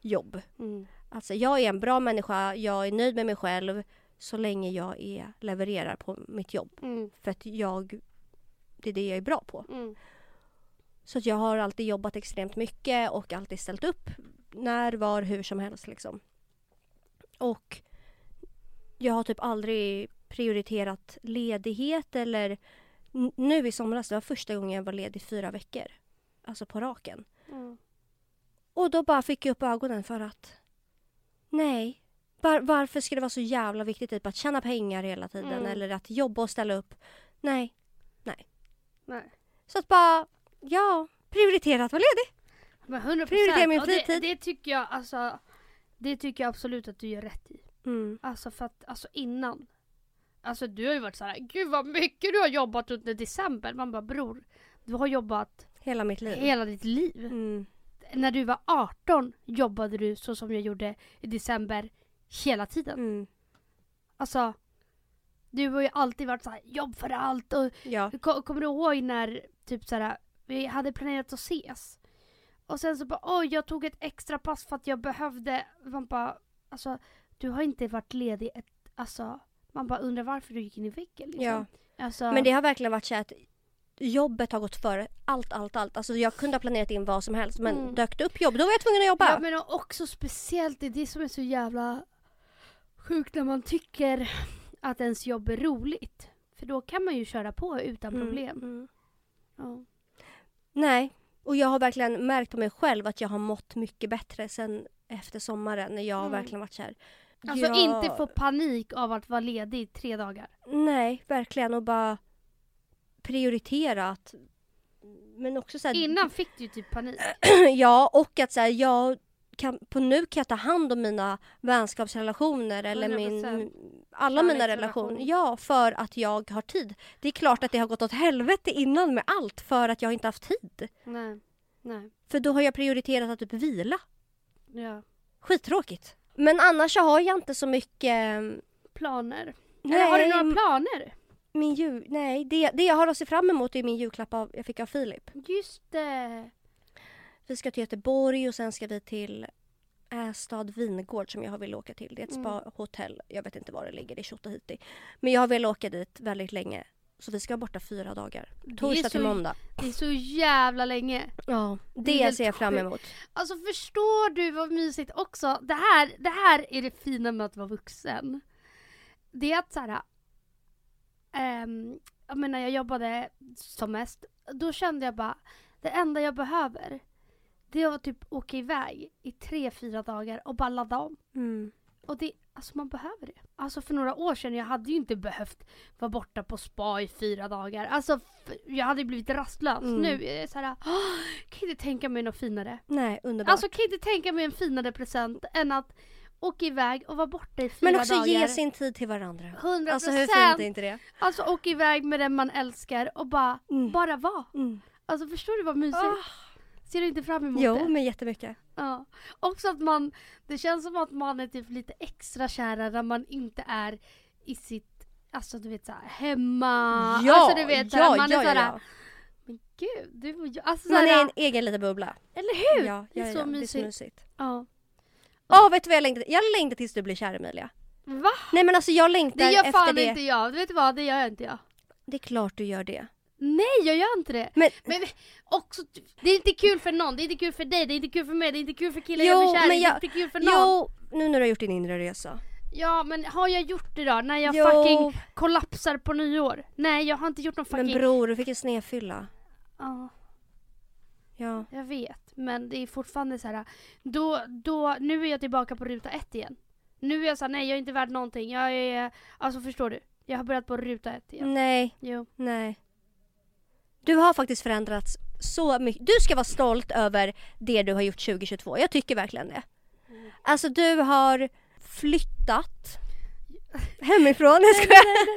jobb.
Mm.
Alltså jag är en bra människa, jag är nöjd med mig själv så länge jag är, levererar på mitt jobb.
Mm.
För att jag, det är det jag är bra på.
Mm.
Så att jag har alltid jobbat extremt mycket och alltid ställt upp när, var, hur som helst liksom. Och jag har typ aldrig prioriterat ledighet eller N- nu i somras, det var första gången jag var ledig fyra veckor. Alltså på raken.
Mm.
Och då bara fick jag upp ögonen för att nej, var, varför ska det vara så jävla viktigt typ, att tjäna pengar hela tiden
Mm.
eller att jobba och ställa upp? Nej,
Nej.
Så att bara Ja, prioritera att vara ledig.
Men 100
Prioritera min
och det,
fritid.
det tycker jag alltså, det tycker jag absolut att du gör rätt i.
Mm.
Alltså för att, alltså innan. Alltså du har ju varit så här: gud vad mycket du har jobbat under december. Man bara bror, du har jobbat
Hela mitt liv.
hela ditt liv.
Mm.
När du var 18 jobbade du så som jag gjorde i december hela tiden.
Mm.
Alltså, du har ju alltid varit så här: jobb för allt och
Ja.
Ko- Kommer du ihåg när typ så här, vi hade planerat att ses? Och sen så bara oj jag tog ett extra pass för att jag behövde. Man bara alltså du har inte varit ledig ett, alltså man bara undrar varför du gick in i väggen liksom.
Ja.
Alltså,
Men det har verkligen varit så här att jobbet har gått före allt, allt, allt. Alltså jag kunde ha planerat in vad som helst men
Mm.
dök det upp jobb då var jag tvungen att jobba.
ja, men också speciellt det är det som är så jävla sjukt när man tycker att ens jobb är roligt. För då kan man ju köra på utan
Mm,
problem.
mm.
Ja.
Nej, och jag har verkligen märkt på mig själv att jag har mått mycket bättre sen efter sommaren när jag har
Mm.
verkligen varit så här.
Alltså
jag-
inte få panik av att vara ledig i tre dagar.
Nej, verkligen och bara prioritera att men också så här,
Innan fick du ju typ panik.
[CLEARS THROAT] Ja, och att så här, jag kan, på nu kan jag ta hand om mina vänskapsrelationer eller min,
100%.
alla mina
Kärleksrelationer.
relationer. Ja, för att jag har tid. Det är klart att det har gått åt helvete innan med allt för att jag inte haft tid.
Nej, nej,
För då har jag prioriterat att typ vila.
ja.
Skittråkigt. Men annars så har jag inte så mycket... eh,
Planer.
Nej,
Eller har du några planer?
min jul, nej det, det jag har att se fram emot är min julklapp av, jag fick av Filip.
Just det.
Vi ska till Göteborg och sen ska vi till Ästad vingård som jag vill åka till. Det är ett
Mm.
spahotell. Jag vet inte var det ligger, det är Tjotahejti. Men jag har velat åka dit väldigt länge. Så vi ska vara borta fyra dagar. Torsdag till
så-
måndag.
Det är så jävla länge.
Ja,
är
det
helt
ser jag fram
sjukt.
emot.
Alltså förstår du vad mysigt också? Det här, det här är det fina med att vara vuxen. Det är att såhär... Um, jag menar jag jobbade som mest. Då kände jag bara, det enda jag behöver det är att typ åka iväg i tre, fyra dagar och bara ladda om.
Mm.
Och det, alltså man behöver det. Alltså för några år sedan, jag hade ju inte behövt vara borta på spa i fyra dagar. Alltså f- jag hade ju blivit rastlös.
Mm.
Nu är det såhär, "Åh, kan inte tänka mig något finare.
Nej, underbart.
Alltså kan inte tänka mig en finare present än att åka iväg och vara borta i fyra
Men också
dagar.
ge sin tid till varandra.
100%.
Alltså hur fint är inte det?
Alltså åka iväg med den man älskar och bara,
Mm.
bara vara.
Mm.
Alltså förstår du vad mysigt? Ser du inte fram emot det?
Ah. Jo, men jättemycket.
Ja. Också att man, det känns som att man är typ lite extra kära när man inte är i sitt, alltså du vet såhär hemma. alltså du vet såhär, man är såhär, men gud, du och jag. Alltså
Man
såhär,
är en egen liten bubbla.
eller hur?
Ja,
Det är
ja,
så
ja, Det är
mysigt.
så mysigt.
Ja.
Åh, vet du vad jag längtar Jag längtar tills du blir kär Emilia.
Va?
Nej men alltså jag längtar
Det gör
efter
fan
det.
inte jag, vet du vad, det gör inte jag.
Det är klart du gör det.
Nej jag gör inte det.
Men-
men också, det är inte kul för någon, det är inte kul för dig, det är inte kul för mig, det är inte kul för killen
Jo,
jag blir kär
men
i, det är
jag-
inte kul för någon.
Jo, nu när du har gjort din inre resa.
Ja men har jag gjort det då? När jag
jo,
fucking kollapsar på nyår? Nej jag har inte gjort någon fucking...
men bror du fick en snedfylla.
Ja,
Ja.
jag vet. Men det är fortfarande så här. Då, då, nu är jag tillbaka på ruta ett igen. Nu är jag så här, nej jag är inte värd någonting. Jag är, alltså förstår du? Jag har börjat på ruta ett igen.
Nej,
Jo.
nej. Du har faktiskt förändrats så mycket. Du ska vara stolt över det du har gjort 2022. Jag tycker verkligen det.
Mm.
Alltså du har flyttat hemifrån. Jag skojar.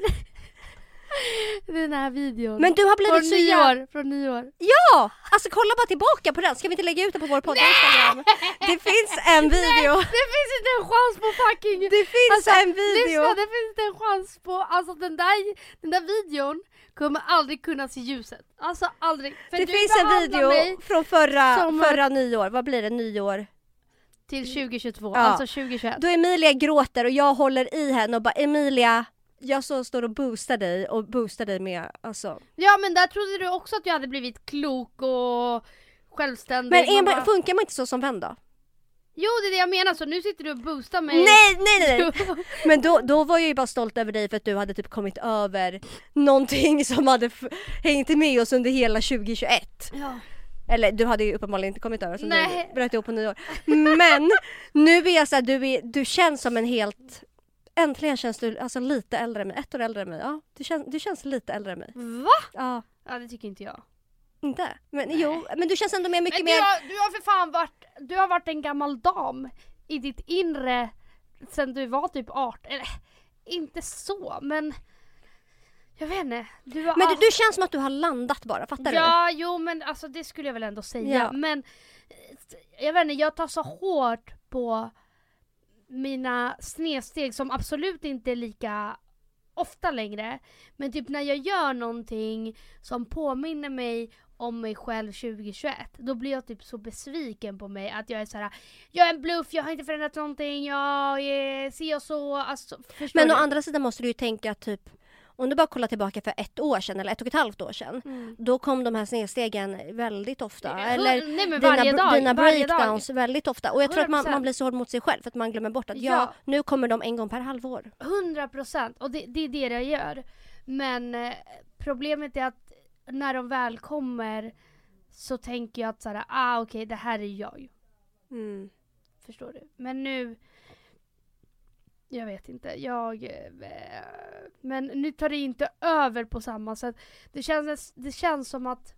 Den här videon.
Men du har
från
blivit så jävla
nyår, från nyår.
Ja! Alltså kolla bara tillbaka på den, ska vi inte lägga ut den på vår podd Instagram? Det finns en video!
Det finns inte en chans på fucking...
Det finns
Alltså,
en video!
Lyssna, det finns inte en chans på, alltså den där, den där videon kommer aldrig kunna se ljuset. Alltså aldrig. För
Det
du
finns en
behandlar
video
mig
från förra,
som
förra nyår, vad blir det, nyår?
till 2022,
Ja.
alltså 2021.
Då Emilia gråter och jag håller i henne och bara Emilia, jag så står och boostar dig och boostar dig med alltså.
Ja men där trodde du också att jag hade blivit klok och självständig.
Men
Man
enbart-
bara,
funkar man inte så som vän då?
Jo det är det jag menar så nu sitter du och boostar mig.
Nej, nej, nej!
[LAUGHS]
nej.
Jo.
Men då, då var jag ju bara stolt över dig för att du hade typ kommit över någonting [LAUGHS] som hade f- hängt med oss under hela 2021.
ja.
Eller du hade ju uppenbarligen inte kommit över som
Nej.
du bröt ihop på nyår. Men nu är jag såhär, du, är- du känns som en helt... Äntligen känns du alltså lite äldre än mig. Ett år äldre än mig. Ja, du, känns, du känns lite äldre än mig.
Va?
Ja.
Ja det tycker inte jag.
Inte? Men jo, men du känns ändå mer, mycket
Men du,
mer...
har, du har för fan varit, du har varit en gammal dam i ditt inre sen du var typ 18, eller inte så men jag vet inte. Du har
Men du, du känns som att du har landat bara, fattar du?
Ja, jo men alltså det skulle jag väl ändå säga.
Ja.
Men eh, jag vet inte, jag tar så hårt på mina snedsteg som absolut inte är lika ofta längre. Men typ när jag gör någonting som påminner mig om mig själv 2021, då blir jag typ så besviken på mig att jag är så här. jag är en bluff, jag har inte förändrat någonting, jag är si och så, alltså förstår
Men
du?
å andra sidan måste du ju tänka typ om du bara kollar tillbaka för ett år sedan eller ett och ett halvt år sedan.
Mm.
Då kom de här snedstegen väldigt ofta.
Hund-
Eller
Nej, men
dina,
varje
br-
dag,
dina
varje dag.
breakdowns väldigt ofta. Och jag tror att man,
100%.
man blir så hård mot sig själv för att man glömmer bort att ja,
Ja.
nu kommer de en gång per halvår.
100 procent och det, det är det jag gör. Men eh, problemet är att när de väl kommer så tänker jag att såhär, ah okej det här är jag. Mm. Förstår du? Men nu, jag vet inte, jag, eh, men nu tar det inte över på samma sätt. Det känns, det känns som att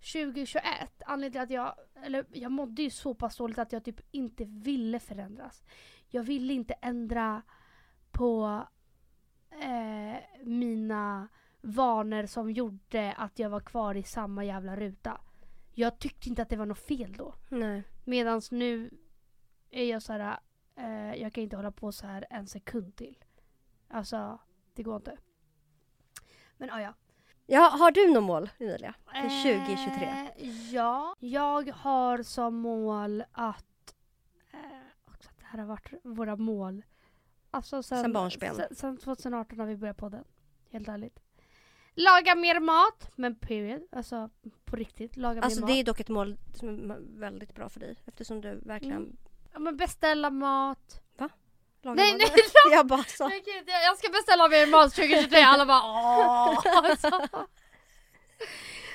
2021, anledningen till att jag, eller jag mådde ju så pass dåligt att jag typ inte ville förändras. Jag ville inte ändra på eh, mina vanor som gjorde att jag var kvar i samma jävla ruta. Jag tyckte inte att det var något fel då.
Nej.
Medan nu är jag så här, eh, jag kan inte hålla på så här en sekund till. Alltså, det går inte. Men ah, ja, ja.
Ja, har du något mål Emilia? För 2023?
Eh, ja, jag har som mål att... Eh, också att det här har varit våra mål. Alltså sen,
Sen barnsben.
Sen, sen 2018 när vi började podden. Helt ärligt. Laga mer mat, men period. Alltså på riktigt, laga
Alltså
mer
det
mat.
är dock ett mål som är väldigt bra för dig eftersom du verkligen
Mm. Ja, men beställa mat.
lagar
Nej, [LAUGHS]
mat. Jag bara så.
Men gud, jag jag ska beställa mer mat 2023, alla bara åh! [LAUGHS] Alltså.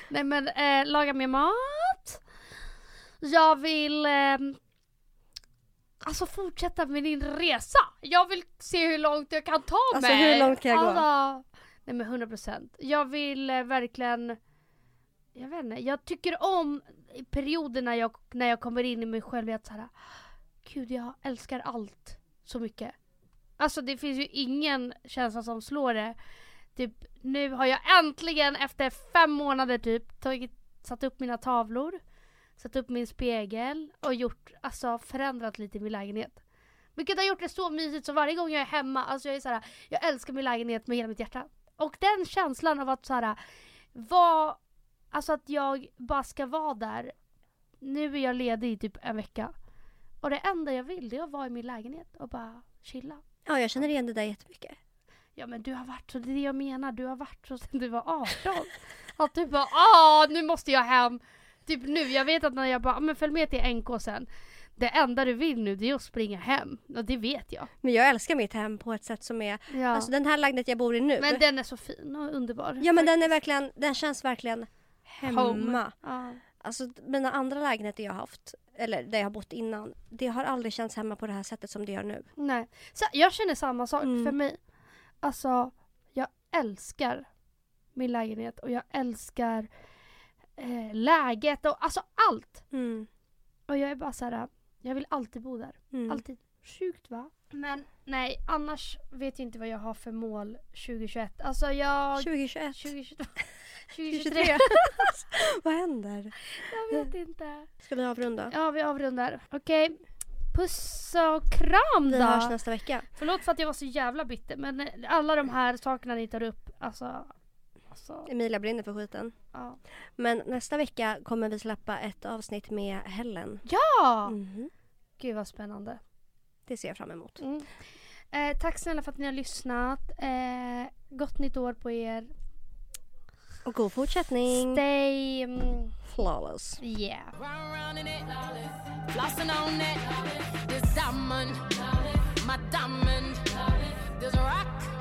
Nej men eh, laga mer mat. Jag vill ehm, alltså fortsätta med din resa. Jag vill se hur långt jag kan ta
Alltså,
mig.
hur långt kan jag gå?
Alltså, Nej men 100 procent. Jag vill eh, verkligen, jag vet inte, jag tycker om perioder när jag, när jag kommer in i mig själv. Att så här, Gud jag älskar allt så mycket. Alltså det finns ju ingen känsla som slår det. Typ nu har jag äntligen efter fem månader typ tagit, satt upp mina tavlor, satt upp min spegel och gjort, alltså förändrat lite i min lägenhet. Vilket har gjort det så mysigt så varje gång jag är hemma, alltså jag är så här, jag älskar min lägenhet med hela mitt hjärta. Och den känslan av att så här, vad, alltså att jag bara ska vara där. Nu är jag ledig i typ en vecka. Och det enda jag vill det är att vara i min lägenhet och bara chilla.
Ja, jag känner igen det där jättemycket.
Ja men du har varit så, det är det jag menar, du har varit så sedan du var 18. Att du bara ah nu måste jag hem. Typ nu, jag vet att när jag bara, "Ah, men följ med till NK sen. Det enda du vill nu det är att springa hem. Och det vet jag.
Men jag älskar mitt hem på ett sätt som är...
Ja.
Alltså den här lägenheten jag bor i nu.
men den är så fin och underbar.
Ja men den är verkligen, den känns verkligen hemma.
Home. Ja.
Alltså mina andra lägenheter jag har haft, eller där jag har bott innan, det har aldrig känts hemma på det här sättet som det gör nu.
Nej. Så jag känner samma sak
Mm.
för mig. Alltså, jag älskar min lägenhet och jag älskar eh, läget och alltså allt.
Mm.
Och jag är bara så här, jag vill alltid bo där.
Mm.
Alltid. Sjukt va? Men nej, annars vet jag inte vad jag har för mål 2021. Alltså jag...
2021,
[LAUGHS] 2022. 2023.
2023. vad händer?
jag vet inte.
Ska vi avrunda?
Ja, vi avrundar. Okej. Puss och kram
Vi
då!
hörs nästa vecka.
Förlåt för att jag var så jävla bitter men eh, alla de här sakerna ni tar upp, alltså... alltså
Emilia brinner för skiten.
ja.
Men nästa vecka kommer vi släppa ett avsnitt med Helen.
ja!
Mhm.
Gud vad spännande.
Det ser jag fram emot.
Eh, tack snälla för att ni har lyssnat. Eh, gott nytt år på er.
Och god fortsättning!
Stay... mm,
Flawless.
Yeah.
Round round in it, lawless. Flossing on it. This diamond, my diamond. This rock.